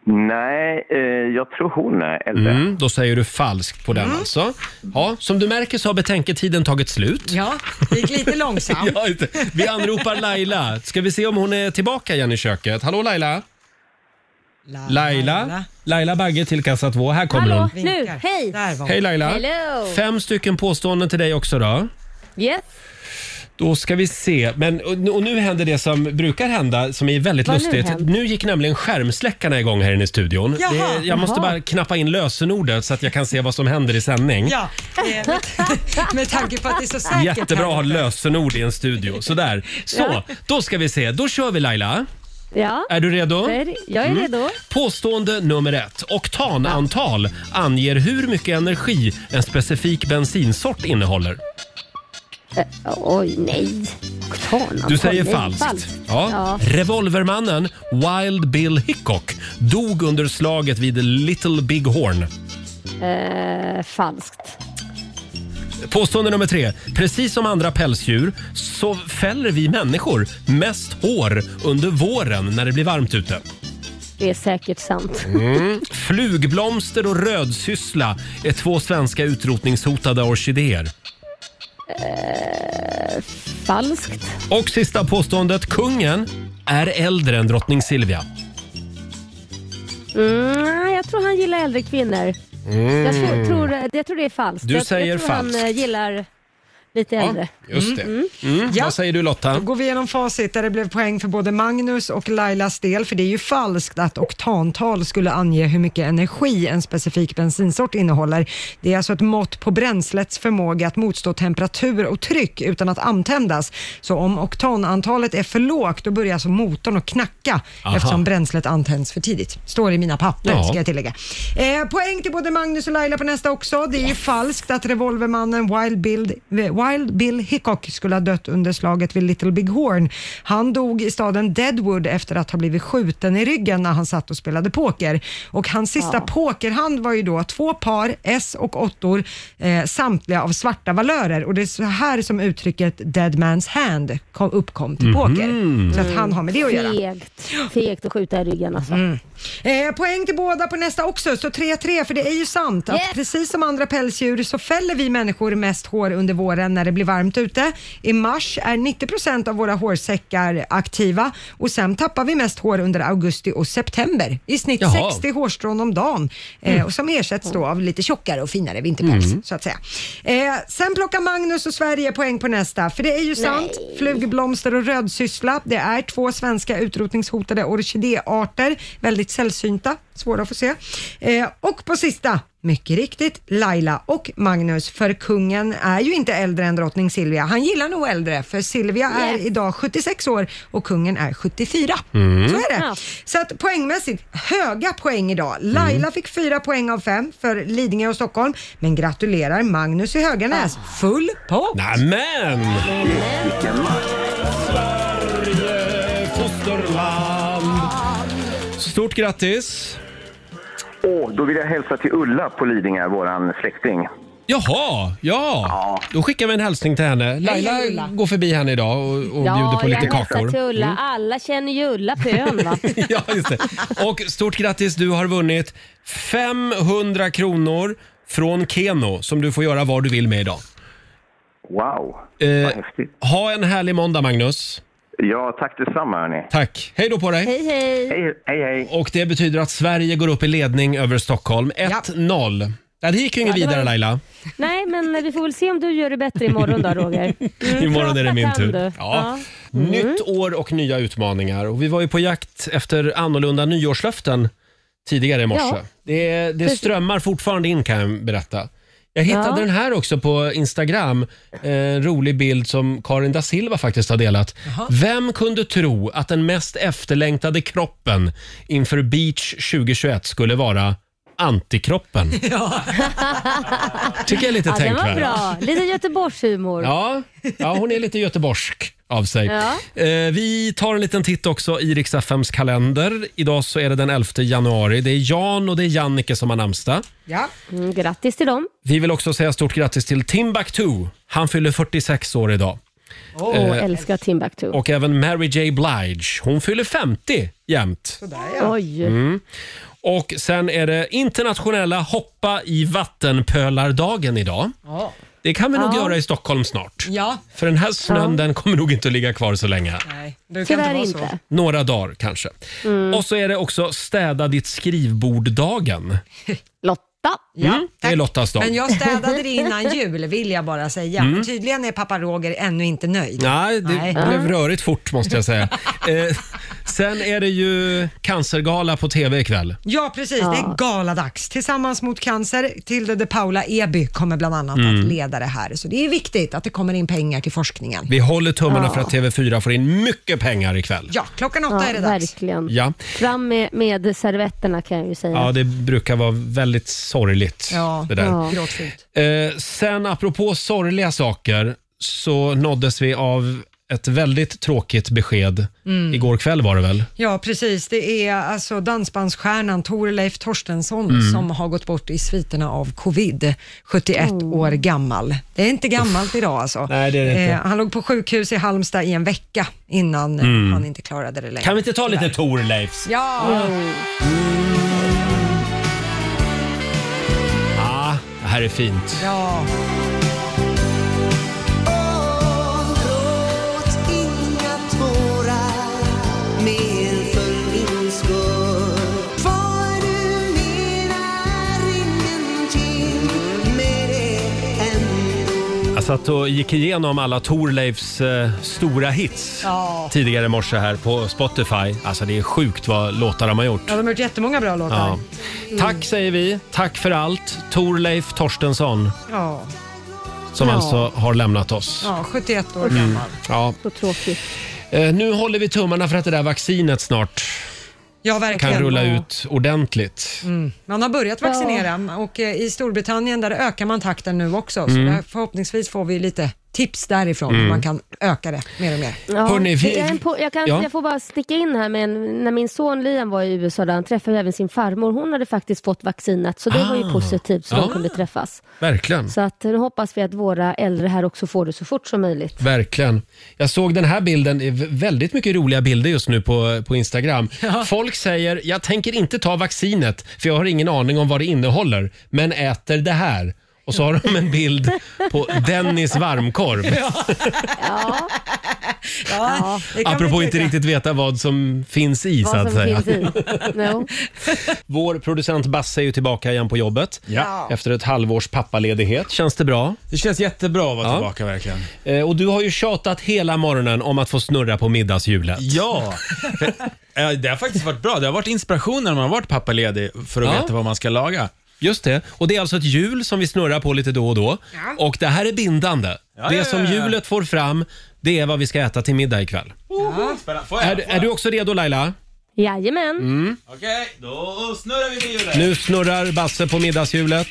Speaker 14: Nej, eh, jag tror hon är äldre.
Speaker 1: Mm, då säger du falskt på den alltså. Ja, som du märker så har betänketiden tagit slut.
Speaker 2: Ja, det gick lite långsamt.
Speaker 1: Ja, inte. Vi anropar Laila. Ska vi se om hon är tillbaka igen i köket? Hallå Laila? Laila? Laila Bagge till kassa två. Här kommer
Speaker 9: Hallå,
Speaker 1: hon.
Speaker 9: nu, hej!
Speaker 1: Hej Laila.
Speaker 9: Hello.
Speaker 1: Fem stycken påståenden till dig också då.
Speaker 9: Yes.
Speaker 1: Då ska vi se. Men, och nu- och nu händer det som brukar hända, som är väldigt
Speaker 9: Vad har nu
Speaker 1: lustigt.
Speaker 9: hänt?
Speaker 1: Nu, gick nämligen skärmsläckarna igång här inne i studion.
Speaker 2: Jaha.
Speaker 1: Det, jag måste
Speaker 2: Jaha.
Speaker 1: bara knappa in lösenordet så att jag kan se vad som händer i sändning.
Speaker 2: Ja, eh, med, med tanke på att det är så säkert.
Speaker 1: Jättebra att ha
Speaker 2: här.
Speaker 1: lösenord i en studio. Sådär. Så,
Speaker 2: Ja.
Speaker 1: då ska vi se. Då kör vi Laila.
Speaker 9: Ja.
Speaker 1: Är du Mm. redo?
Speaker 9: Jag är- jag är redo.
Speaker 1: Påstående nummer ett. Oktanantal anger hur mycket energi en specifik bensinsort innehåller.
Speaker 9: Eh, oj, nej. Oktanantal,
Speaker 1: Du säger
Speaker 9: nej,
Speaker 1: falskt. Ja.
Speaker 9: Ja. Ja.
Speaker 1: Revolvermannen Wild Bill Hickok dog under slaget vid Little Big Horn.
Speaker 9: Eh, falskt.
Speaker 1: Påstående nummer tre. Precis som andra pälsdjur så fäller vi människor mest hår under våren när det blir varmt ute.
Speaker 9: Det är säkert sant.
Speaker 1: Mm. Flugblomster och rödsyssla är två svenska utrotningshotade orkidéer.
Speaker 9: Eh, falskt.
Speaker 1: Och sista påståendet. Kungen är äldre än drottning Silvia.
Speaker 9: Mm, nej, jag tror han gillar äldre kvinnor. Jag, tror, tror, jag tror det är falskt.
Speaker 1: Du
Speaker 9: jag,
Speaker 1: säger
Speaker 9: jag tror
Speaker 1: falskt.
Speaker 9: han eh, gillar lite äldre.
Speaker 1: Just det. Mm. Vad säger du
Speaker 2: Då
Speaker 1: Lotta?
Speaker 2: går vi igenom facit där det blev poäng för både Magnus och Lailas del, för det är ju falskt att oktantal skulle ange hur mycket energi en specifik bensinsort innehåller. Det är alltså ett mått på bränslets förmåga att motstå temperatur och tryck utan att antändas. Så om oktanantalet är för lågt, då börjar alltså motorn att knacka
Speaker 13: Aha.
Speaker 2: eftersom bränslet antänds för tidigt. Står i mina papper,
Speaker 13: Ja.
Speaker 2: ska jag tillägga. Eh, poäng till både Magnus och Laila på nästa också. Det är ju falskt att revolvermannen Wild Bill, Wild Bill Hickok skulle ha dött under slaget vid Little Big Horn. Han dog i staden Deadwood efter att ha blivit skjuten i ryggen när han satt och spelade poker. Och hans sista pokerhand var ju då två par S och åttor, eh, samtliga av svarta valörer. Och det är så här som uttrycket Dead Man's Hand kom, uppkom till poker. Så att han har med det att göra.
Speaker 9: Fegt, fegt att skjuta i ryggen alltså.
Speaker 1: Mm,
Speaker 2: Eh, poäng till båda på nästa också, så 3-3 för det är ju sant att precis som andra pälsdjur så fäller vi människor mest hår under våren när det blir varmt ute. I mars är 90% av våra hårsäckar aktiva och sen tappar vi mest hår under augusti och september. I snitt
Speaker 13: Jaha.
Speaker 2: 60 hårstrån om dagen eh, och som ersätts då av lite tjockare och finare vinterpäls
Speaker 13: Mm.
Speaker 2: så att säga. Eh, sen plockar Magnus och Sverige poäng på nästa för det är ju sant. Flugblomster och rödsyssla, det är två svenska utrotningshotade orkidéarter. Väldigt sällsynta, svåra att få se. Eh, och på sista, mycket riktigt, Laila och Magnus, för kungen är ju inte äldre än drottning Silvia. Han gillar nog äldre, för Silvia är idag 76 år och kungen är 74.
Speaker 13: Mm.
Speaker 2: Så är det.
Speaker 13: Ja.
Speaker 2: Så att poängmässigt, höga poäng idag. Laila
Speaker 1: Mm.
Speaker 2: fick fyra poäng av fem för Lidingö och Stockholm, men gratulerar Magnus i Höganäs. Full pott!
Speaker 1: Nämen!
Speaker 14: Vilken match!
Speaker 1: Stort grattis!
Speaker 14: Åh, då vill jag hälsa till Ulla på Lidingö, våran släkting.
Speaker 1: Jaha, ja. Då skickar vi en hälsning till henne. Laila
Speaker 9: Hej, Ulla.
Speaker 1: går förbi här idag och, och bjuder på
Speaker 9: jag
Speaker 1: lite
Speaker 9: hälsar
Speaker 1: kakor.
Speaker 9: till Ulla.
Speaker 1: Mm.
Speaker 9: Alla känner ju Ulla Pön va?
Speaker 1: ja, just det. Och stort grattis, du har vunnit 500 kronor från Keno som du får göra vad du vill med idag.
Speaker 14: Wow,
Speaker 1: Eh, ha en härlig måndag Magnus.
Speaker 14: Ja, tack detsamma hörni.
Speaker 1: Tack. Hej då på dig.
Speaker 9: Hej hej.
Speaker 14: Hej, hej.
Speaker 1: Och det betyder att Sverige går upp i ledning över Stockholm. 1-0. Ja, det gick ju inget
Speaker 9: Ja, det var-
Speaker 1: vidare Laila.
Speaker 9: Nej, men vi får väl se om du gör det bättre imorgon då Roger. Mm,
Speaker 1: Imorgon är det
Speaker 9: prata
Speaker 1: min
Speaker 9: kan
Speaker 1: tur.
Speaker 9: du.
Speaker 1: Ja. Nytt år och nya utmaningar. Och vi var ju på jakt efter annorlunda nyårslöften tidigare i morse.
Speaker 9: Ja.
Speaker 1: Det, det
Speaker 9: Precis.
Speaker 1: strömmar fortfarande in kan jag berätta. Jag hittade
Speaker 9: Ja.
Speaker 1: den här också på Instagram. Eh, En rolig bild som Karin da Silva faktiskt har delat. Vem kunde tro att den mest efterlängtade kroppen inför Beach 2021 skulle vara antikroppen?
Speaker 9: Ja.
Speaker 1: Tycker jag är lite
Speaker 9: ja, den var
Speaker 1: tänkvärd.
Speaker 9: bra. Lite Göteborgshumor.
Speaker 1: Ja, ja, hon är lite göteborgsk av sig.
Speaker 9: Ja.
Speaker 1: Eh, vi tar en liten titt också i riks FMs kalender. Idag så är det den 11 januari. Det är Jan och det är Jannike som har namnsdag.
Speaker 9: ja. Mm, grattis till dem.
Speaker 1: Vi vill också säga stort grattis till Timbuktu. Han fyller 46 år idag.
Speaker 9: Åh,
Speaker 1: Eh,
Speaker 9: älskar Timbuktu.
Speaker 1: Och även Mary J Blige. Hon fyller 50 jämt.
Speaker 9: Oj.
Speaker 1: Mm. Och sen är det internationella hoppa i vattenpölardagen idag.
Speaker 2: Ja.
Speaker 1: Det kan vi nog
Speaker 2: Ja.
Speaker 1: göra i Stockholm snart.
Speaker 2: Ja,
Speaker 1: För den här snön
Speaker 2: Ja.
Speaker 1: den kommer nog inte att ligga kvar så länge.
Speaker 2: nej. Det kan
Speaker 9: Tyvärr
Speaker 2: inte vara
Speaker 9: inte.
Speaker 1: Några dagar kanske.
Speaker 2: Mm.
Speaker 1: Och så är det också städa ditt skrivbord-dagen.
Speaker 9: Lotta.
Speaker 1: Mm, det är Lottas
Speaker 2: så.
Speaker 1: dag.
Speaker 2: Men jag städade det innan jul vill jag bara säga.
Speaker 1: Mm.
Speaker 2: Men Tydligen är pappa Roger ännu inte nöjd.
Speaker 1: Nej, det
Speaker 2: Nej.
Speaker 1: blev rörigt fort måste jag säga. eh, sen är det ju cancergala på tv ikväll.
Speaker 2: Ja, precis. Det är galadags. Tillsammans mot cancer. Tilde de Paula Eby kommer bland annat
Speaker 1: Mm.
Speaker 2: att leda det här. Så det är viktigt att det kommer in pengar till forskningen.
Speaker 1: Vi håller tummarna
Speaker 2: Ja.
Speaker 1: för att TV4 får in mycket pengar ikväll.
Speaker 2: Ja, klockan åtta
Speaker 9: Ja,
Speaker 2: är det dags.
Speaker 9: Verkligen.
Speaker 1: Ja.
Speaker 9: Fram med, med servetterna kan jag ju säga.
Speaker 2: Mm.
Speaker 1: ja, det brukar vara väldigt sorgligt det där.
Speaker 2: Gråtfyllt.
Speaker 1: Eh, sen apropå sorgliga saker så nåddes vi av ett väldigt tråkigt besked.
Speaker 2: Mm.
Speaker 1: Igår kväll var det väl?
Speaker 2: Ja, precis. Det är alltså dansbandsstjärnan Torleif Torstensson
Speaker 1: Mm.
Speaker 2: som har gått bort i sviterna av covid. 71 år gammal. Det är inte gammalt idag alltså.
Speaker 1: Mm. Nej, det är det inte.
Speaker 2: han låg på sjukhus i Halmstad i en vecka innan eh,
Speaker 1: Mm.
Speaker 2: han inte klarade det längre.
Speaker 1: Kan vi Mm. inte ta lite Thorleifs?
Speaker 2: Ja!
Speaker 1: Ah, det här är fint.
Speaker 2: Ja.
Speaker 6: Gråt inga tårar mer för min skull. Vad du menar ingenting med det ändå.
Speaker 1: Jag satt och gick igenom alla Thorleifs eh, stora hits
Speaker 2: Ja.
Speaker 1: tidigare i morse här på Spotify. Alltså det är sjukt vad låtar de har gjort.
Speaker 2: Ja, de har gjort jättemånga bra låtar.
Speaker 1: Ja. Tack säger vi. Tack för allt. Thorleif Torstensson
Speaker 2: Ja,
Speaker 1: som
Speaker 2: Ja.
Speaker 1: alltså har lämnat oss.
Speaker 2: ja 71 år
Speaker 1: Mm.
Speaker 2: gammal.
Speaker 1: Ja.
Speaker 9: Så tråkigt.
Speaker 1: Eh, Nu håller vi tummarna för att det där vaccinet snart
Speaker 2: Ja, verkligen.
Speaker 1: kan rulla ut ordentligt.
Speaker 2: Mm. Man har börjat vaccinera och eh, i Storbritannien där ökar man takten nu också. Så
Speaker 1: Mm.
Speaker 2: där, förhoppningsvis får vi lite tips därifrån
Speaker 1: Mm.
Speaker 2: hur man kan öka det mer och mer.
Speaker 9: Ja,
Speaker 1: Hörrni, vi-
Speaker 9: det är en po- jag, kan,
Speaker 1: Ja.
Speaker 9: jag får bara sticka in här med en, när min son Liam var i USA, där han träffade även sin farmor. Hon hade faktiskt fått vaccinet, så det var
Speaker 1: Ah.
Speaker 9: ju positivt så
Speaker 1: Ja.
Speaker 9: de kunde träffas.
Speaker 1: Verkligen.
Speaker 9: Så att, nu hoppas vi att våra äldre här också får det så fort som möjligt.
Speaker 1: Verkligen. Jag såg den här bilden, det är v- väldigt mycket roliga bilder just nu på, på Instagram. Folk säger, jag tänker inte ta vaccinet för jag har ingen aning om vad det innehåller, men äter det här. Och så har de en bild på Dennis varmkorv.
Speaker 2: Ja, det kan
Speaker 1: Apropå
Speaker 2: vi
Speaker 1: inte
Speaker 2: tycka.
Speaker 1: riktigt veta vad som finns i så
Speaker 9: Vad
Speaker 1: att
Speaker 9: som
Speaker 1: säga.
Speaker 9: finns i. No.
Speaker 1: Vår producent Basse är ju tillbaka igen på jobbet
Speaker 5: Ja.
Speaker 1: efter ett halvårs pappaledighet. Känns det bra?
Speaker 5: Det känns jättebra att vara tillbaka verkligen.
Speaker 1: Eh, Och du har ju tjatat hela morgonen om att få snurra på middagshjulet.
Speaker 5: Ja, för, eh, det har faktiskt varit bra. Det har varit inspiration när man har varit pappaledig för att
Speaker 1: Ja.
Speaker 5: veta vad man ska laga.
Speaker 1: Just det. Och det är alltså ett hjul som vi snurrar på lite då och då. Och det här är bindande. det
Speaker 5: ja,
Speaker 1: som
Speaker 5: ja, ja.
Speaker 1: hjulet får fram, det är vad vi ska äta till middag ikväll. Är, är du också redo Laila?
Speaker 9: Jajamän.
Speaker 1: Mm.
Speaker 5: Okej, då snurrar vi på hjulet.
Speaker 1: Nu snurrar Basse på middagshjulet.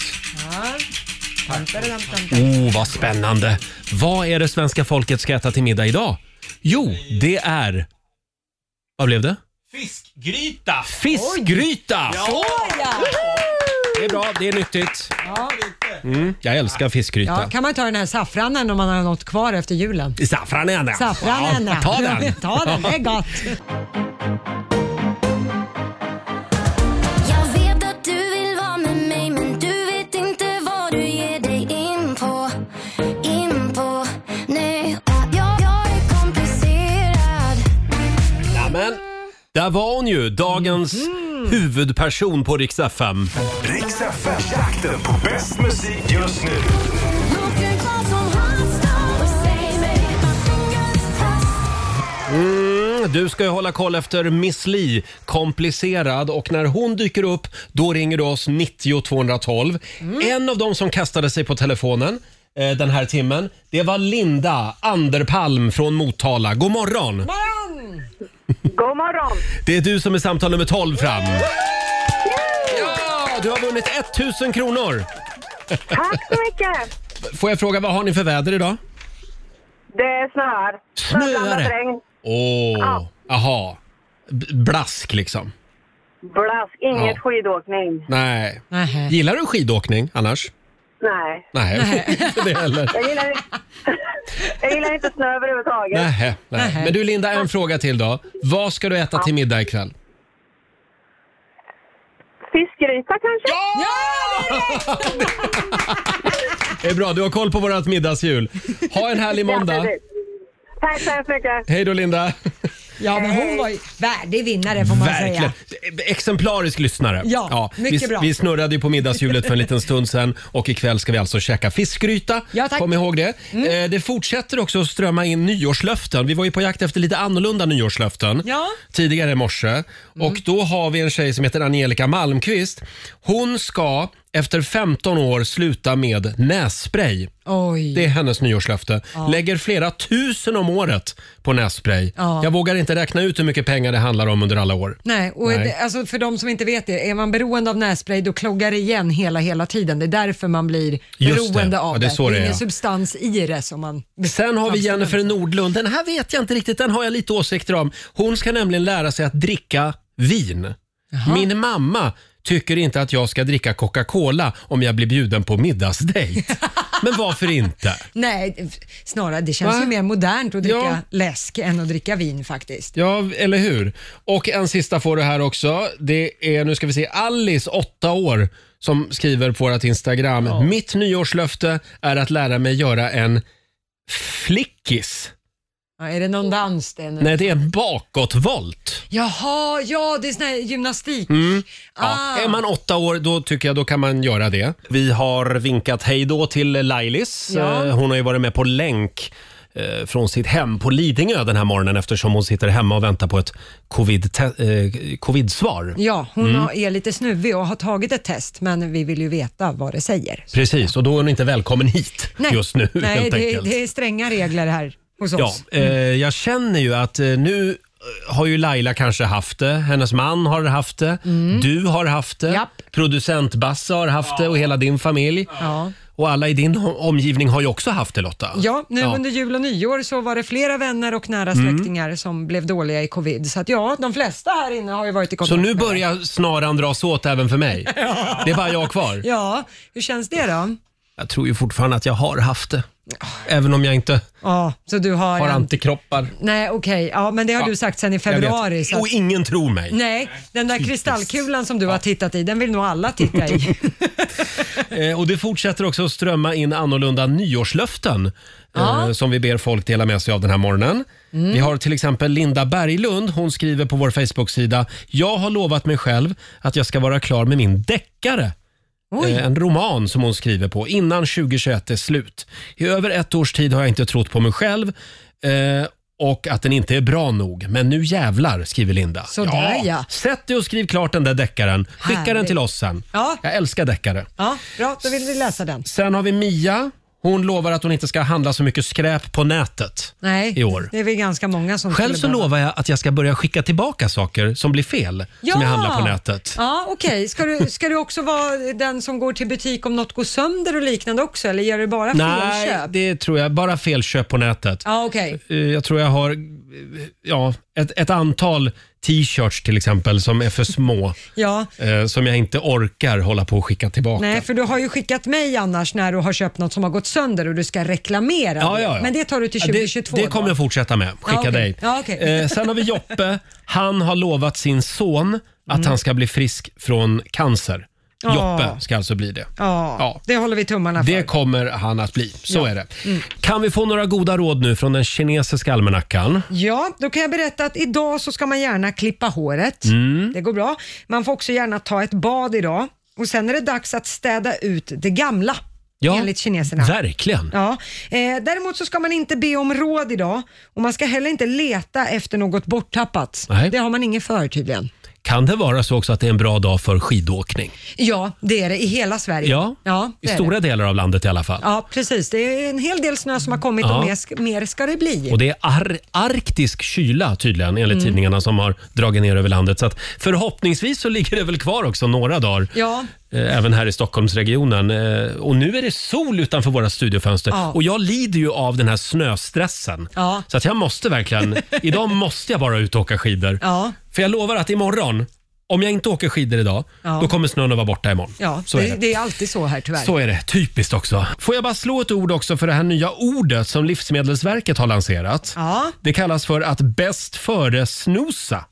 Speaker 1: Oh, vad spännande. Vad är det svenska folket ska äta till middag idag? Jo, det är... Vad blev det?
Speaker 5: Fiskgryta!
Speaker 1: Fiskgryta!
Speaker 5: Ja!
Speaker 1: Det är bra, det är nyttigt.
Speaker 2: Ja.
Speaker 1: Mm, jag älskar fiskgryta.
Speaker 2: Ja, kan man ta den här saffranen om man har något kvar efter julen?
Speaker 1: Saffran är det.
Speaker 2: Saffranen,
Speaker 1: Ja,
Speaker 2: ja.
Speaker 1: ta den.
Speaker 2: ta den, det är gott.
Speaker 4: Jag vet att du vill vara med mig men du vet inte vad du ger dig in på In på, nej Jag, jag är komplicerad
Speaker 1: Nämen. Där var hon ju, dagens huvudperson på Rix FM.
Speaker 3: Riks FM, jakten på bäst musik just nu.
Speaker 1: Mm, du ska ju hålla koll efter Miss Li, komplicerad. Och när hon dyker upp, då ringer du oss 90 212. En av dem som kastade sig på telefonen eh, den här timmen, det var Linda Anderpalm från Motala. God morgon!
Speaker 10: God morgon!
Speaker 1: Det är du som är samtal nummer 12 fram. Ja, du har vunnit 1000 kronor!
Speaker 10: Tack så mycket!
Speaker 1: Får jag fråga, vad har ni för väder idag?
Speaker 10: Det snöar.
Speaker 1: Snöar det?
Speaker 10: regn.
Speaker 1: Åh,
Speaker 10: Ja.
Speaker 1: aha. B- blask liksom.
Speaker 10: Blask. Inget
Speaker 1: Ja.
Speaker 10: skidåkning.
Speaker 1: Nej. Gillar du skidåkning annars?
Speaker 10: Nej.
Speaker 1: Nej, inte det heller.
Speaker 10: Jag gillar, inte- jag gillar inte snö överhuvudtaget.
Speaker 1: Nej, nej. Men du Linda, en fråga till då. Vad ska du äta till middag ikväll?
Speaker 10: Fiskgryta kanske?
Speaker 1: Ja! Det är bra, du har koll på vårt middagshjul. Ha en härlig måndag.
Speaker 10: Tack så hemskt mycket.
Speaker 1: Hej då Linda.
Speaker 2: Ja, men hon var ju värdig vinnare får man
Speaker 1: Verkligen.
Speaker 2: säga.
Speaker 1: Exemplarisk lyssnare.
Speaker 2: Ja,
Speaker 1: vi,
Speaker 2: mycket bra.
Speaker 1: vi snurrade ju på middagshjulet för en liten stund sedan och ikväll ska vi alltså käka fiskgryta.
Speaker 2: Ja, tack. Mm.
Speaker 1: Kom ihåg det. Eh, det fortsätter också att strömma in nyårslöften. Vi var ju på jakt efter lite annorlunda nyårslöften
Speaker 2: Ja. Mm.
Speaker 1: tidigare i morse. Och då har vi en tjej som heter Angelica Malmqvist. Hon ska efter 15 år sluta med nässpray.
Speaker 2: Oj.
Speaker 1: Det är hennes nyårslöfte.
Speaker 2: Ja.
Speaker 1: Lägger flera tusen om året på nässpray.
Speaker 2: Ja.
Speaker 1: Jag vågar inte räkna ut hur mycket pengar det handlar om under alla år.
Speaker 2: Nej, och
Speaker 1: Nej.
Speaker 2: Det, alltså för de som inte vet det, är man beroende av nässpray då kloggar det igen hela, hela tiden. Det är därför man blir
Speaker 1: Just det.
Speaker 2: beroende
Speaker 1: Ja,
Speaker 2: av
Speaker 1: det är så det är,
Speaker 2: ingen
Speaker 1: ja.
Speaker 2: substans i det som man...
Speaker 1: Sen har vi Jennifer Nordlund. Den här vet jag inte riktigt. Den har jag lite åsikter om. Hon ska nämligen lära sig att dricka vin. Min mamma tycker inte att jag ska dricka Coca-Cola om jag blir bjuden på middagsdejt. Men varför inte?
Speaker 2: Nej, snarare det känns
Speaker 1: Va?
Speaker 2: ju mer modernt att dricka
Speaker 1: Ja.
Speaker 2: läsk än att dricka vin faktiskt.
Speaker 1: Ja, eller hur? Och en sista får du här också. Det är, nu ska vi se, Alice, åtta år, som skriver på vårt Instagram. Mitt nyårslöfte är att lära mig göra en flickis.
Speaker 2: Ja, är det någon dans det? nu?
Speaker 1: Nej, det är en bakåtvolt.
Speaker 2: Jaha, ja det är sån här gymnastik.
Speaker 1: Mm.
Speaker 2: Ah.
Speaker 1: Ja. Är man åtta år, då tycker jag då kan man göra det. Vi har vinkat hej då till Lailis.
Speaker 2: Ja.
Speaker 1: Eh, Hon har ju varit med på länk eh, från sitt hem på Lidingö den här morgonen eftersom hon sitter hemma och väntar på ett covid-te- eh, covid-svar.
Speaker 2: Ja, hon
Speaker 1: Mm.
Speaker 2: har, är lite snuvig och har tagit ett test men vi vill ju veta vad det säger.
Speaker 1: Precis, och då är hon inte välkommen hit just nu
Speaker 2: Nej,
Speaker 1: helt
Speaker 2: det,
Speaker 1: enkelt.
Speaker 2: det är stränga regler här hos oss. Mm.
Speaker 1: Ja, eh, jag känner ju att eh, nu eh, har ju Laila kanske haft det, hennes man har haft det,
Speaker 2: Mm.
Speaker 1: du har haft det, producent Basse har haft det och hela din familj.
Speaker 2: Ja.
Speaker 1: Och alla i din om- omgivning har ju också haft det Lotta.
Speaker 2: Ja, nu under jul och nyår så var det flera vänner och nära
Speaker 1: Mm.
Speaker 2: släktingar som blev dåliga i covid. Så att ja, de flesta här inne har ju varit i kontakt
Speaker 1: Så nu
Speaker 2: med
Speaker 1: börjar snaran dras åt även för mig. Det är bara jag kvar.
Speaker 2: det. Ja, hur känns det då?
Speaker 1: Jag tror ju fortfarande att jag har haft det. Även om jag inte
Speaker 2: Ja, så du har...
Speaker 1: har
Speaker 2: en-
Speaker 1: antikroppar.
Speaker 2: Nej, okej. Ja, men det har
Speaker 1: Ja,
Speaker 2: du sagt sedan i
Speaker 1: jag vet.
Speaker 2: februari. Så
Speaker 1: Och ingen tror mig.
Speaker 2: Nej, den där kristallkulan som du har tittat i, den vill nog alla titta i.
Speaker 1: Eh, Och det fortsätter också att strömma in annorlunda nyårslöften eh, som vi ber folk dela med sig av den här morgonen.
Speaker 2: Mm.
Speaker 1: Vi har till exempel Linda Berglund. Hon skriver på vår Facebook-sida. Jag har lovat mig själv att jag ska vara klar med min deckare.
Speaker 2: Oj.
Speaker 1: Eh, En roman som hon skriver på innan 2021 är slut. I över ett års tid har jag inte trott på mig själv eh, och att den inte är bra nog. Men nu jävlar, skriver Linda.
Speaker 2: Sådär, ja.
Speaker 1: Sätt dig och skriv klart den där deckaren. Skicka den
Speaker 2: Härligt.
Speaker 1: till oss sen.
Speaker 2: Ja.
Speaker 1: Jag älskar deckare.
Speaker 2: Ja, bra, då vill vi läsa den.
Speaker 1: Sen har vi Mia. Hon lovar att hon inte ska handla så mycket skräp på nätet
Speaker 2: Nej,
Speaker 1: i år.
Speaker 2: det är väl ganska många som
Speaker 1: Själv
Speaker 2: skulle
Speaker 1: så
Speaker 2: behöva-
Speaker 1: lovar jag att jag ska börja skicka tillbaka saker som blir fel som jag handlar på nätet.
Speaker 2: Ja, okej. Ska, du, ska du också vara den som går till butik om något går sönder och liknande också eller gör du bara
Speaker 1: Nej,
Speaker 2: felköp?
Speaker 1: det tror jag. Bara felköp på nätet.
Speaker 2: Ja, okej.
Speaker 1: Eh, Jag tror jag har eh, ja, ett, ett antal t-shirts till exempel som är för små.
Speaker 2: Ja.
Speaker 1: eh, som jag inte orkar hålla på och skicka tillbaka.
Speaker 2: Nej, för du har ju skickat mig annars när du har köpt något som har gått sönder och du ska reklamera
Speaker 1: Ja,
Speaker 2: det.
Speaker 1: ja, ja.
Speaker 2: Men det tar du till
Speaker 1: Ja, det-
Speaker 2: 2022.
Speaker 1: Det kommer jag fortsätta med. Skicka
Speaker 2: Ja, okej.
Speaker 1: dig.
Speaker 2: Ja, okej.
Speaker 1: Eh, sen har vi Joppe. Han har lovat sin son att
Speaker 2: Mm.
Speaker 1: han ska bli frisk från cancer.
Speaker 2: Ja.
Speaker 1: Joppe ska alltså bli det.
Speaker 2: Ja, det håller vi tummarna för.
Speaker 1: Det kommer han att bli. Så
Speaker 2: Ja.
Speaker 1: är det.
Speaker 2: Mm.
Speaker 1: Kan vi få några goda råd nu från den kinesiska almanackan?
Speaker 2: Ja, då kan jag berätta att idag så ska man gärna klippa håret.
Speaker 1: Mm.
Speaker 2: Det går bra. Man får också gärna ta ett bad idag. Och sen är det dags att städa ut det gamla.
Speaker 1: Ja,
Speaker 2: enligt kineserna.
Speaker 1: verkligen.
Speaker 2: Ja. Eh, däremot så ska man inte be om råd idag och man ska heller inte leta efter något borttappat.
Speaker 1: Nej.
Speaker 2: Det har man ingen för tydligen.
Speaker 1: Kan det vara så också att det är en bra dag för skidåkning?
Speaker 2: Ja, det är det i hela Sverige.
Speaker 1: Ja,
Speaker 2: det
Speaker 1: i
Speaker 2: är det.
Speaker 1: stora delar av landet i alla fall.
Speaker 2: Ja, precis. Det är en hel del snö som har kommit
Speaker 1: Ja.
Speaker 2: och mer ska, mer ska det bli.
Speaker 1: Och det är ar- arktisk kyla tydligen enligt
Speaker 2: Mm.
Speaker 1: tidningarna som har dragit ner över landet. Så att förhoppningsvis så ligger det väl kvar också några dagar.
Speaker 2: Ja,
Speaker 1: Eh, Även här i Stockholmsregionen. Eh, Och nu är det sol utanför våra studiofönster.
Speaker 2: Ja.
Speaker 1: Och jag lider ju av den här snöstressen.
Speaker 2: Ja.
Speaker 1: Så att jag måste verkligen, idag måste jag bara ut och åka skidor.
Speaker 2: ja,
Speaker 1: För jag lovar att imorgon, om jag inte åker skidor idag,
Speaker 2: Ja.
Speaker 1: då kommer snön att vara borta imorgon.
Speaker 2: ja.
Speaker 1: Så
Speaker 2: det,
Speaker 1: är det.
Speaker 2: det är alltid så här tyvärr.
Speaker 1: Så är det. Typiskt också. Får jag bara slå ett ord också för det här nya ordet som Livsmedelsverket har lanserat.
Speaker 2: Ja.
Speaker 1: Det kallas för att bäst före-snosa.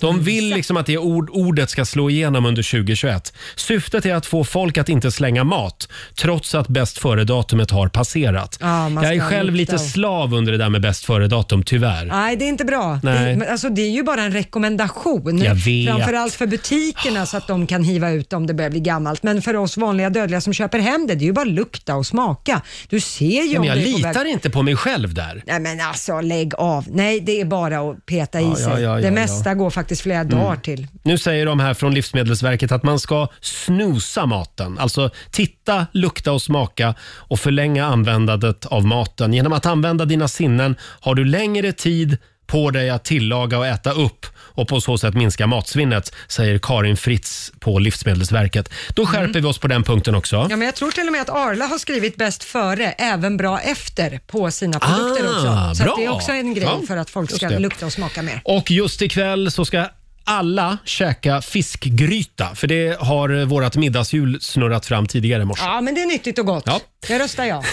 Speaker 1: De vill liksom att det ord, ordet ska slå igenom under 2021. Syftet är att få folk att inte slänga mat trots att bäst före-datumet har passerat.
Speaker 2: Ja, man
Speaker 1: Jag är
Speaker 2: ska
Speaker 1: själv
Speaker 2: lukta
Speaker 1: lite
Speaker 2: och-
Speaker 1: slav under det där med bäst före-datum, tyvärr.
Speaker 2: Nej, det är inte bra.
Speaker 1: Nej.
Speaker 2: Det, men alltså, det är ju bara en rekommendation.
Speaker 1: Jag vet.
Speaker 2: Framförallt för butikerna så att de kan hiva ut om det börjar bli gammalt. Men för oss vanliga dödliga som köper hem det, det är ju bara lukta och smaka. Du ser ju
Speaker 1: Ja,
Speaker 2: om
Speaker 1: men jag
Speaker 2: det är på väg-
Speaker 1: litar inte på mig själv där.
Speaker 2: Nej men alltså lägg av. Nej det är bara att peta i
Speaker 1: Ja,
Speaker 2: sig.
Speaker 1: ja, ja, ja,
Speaker 2: det
Speaker 1: Mm.
Speaker 2: mesta går faktiskt flera dagar till.
Speaker 1: Nu säger de här från Livsmedelsverket att man ska snusa maten. Alltså titta, lukta och smaka och förlänga användandet av maten. Genom att använda dina sinnen har du längre tid på dig att tillaga och äta upp och på så sätt minska matsvinnet, säger Karin Fritz på Livsmedelsverket. Då skärper vi oss på den punkten också.
Speaker 2: Ja, men jag tror till och med att Arla har skrivit bäst före, även bra efter på sina produkter
Speaker 1: Ah,
Speaker 2: också. Så
Speaker 1: bra.
Speaker 2: att det är också en grej
Speaker 1: Ja,
Speaker 2: för att folk
Speaker 1: just
Speaker 2: ska
Speaker 1: det.
Speaker 2: lukta och smaka mer.
Speaker 1: Och just ikväll så ska alla käka fiskgryta, för det har vårt middagshjul snurrat fram tidigare i morse.
Speaker 2: Ja, men det är nyttigt och gott.
Speaker 1: Ja.
Speaker 2: Det röstar jag.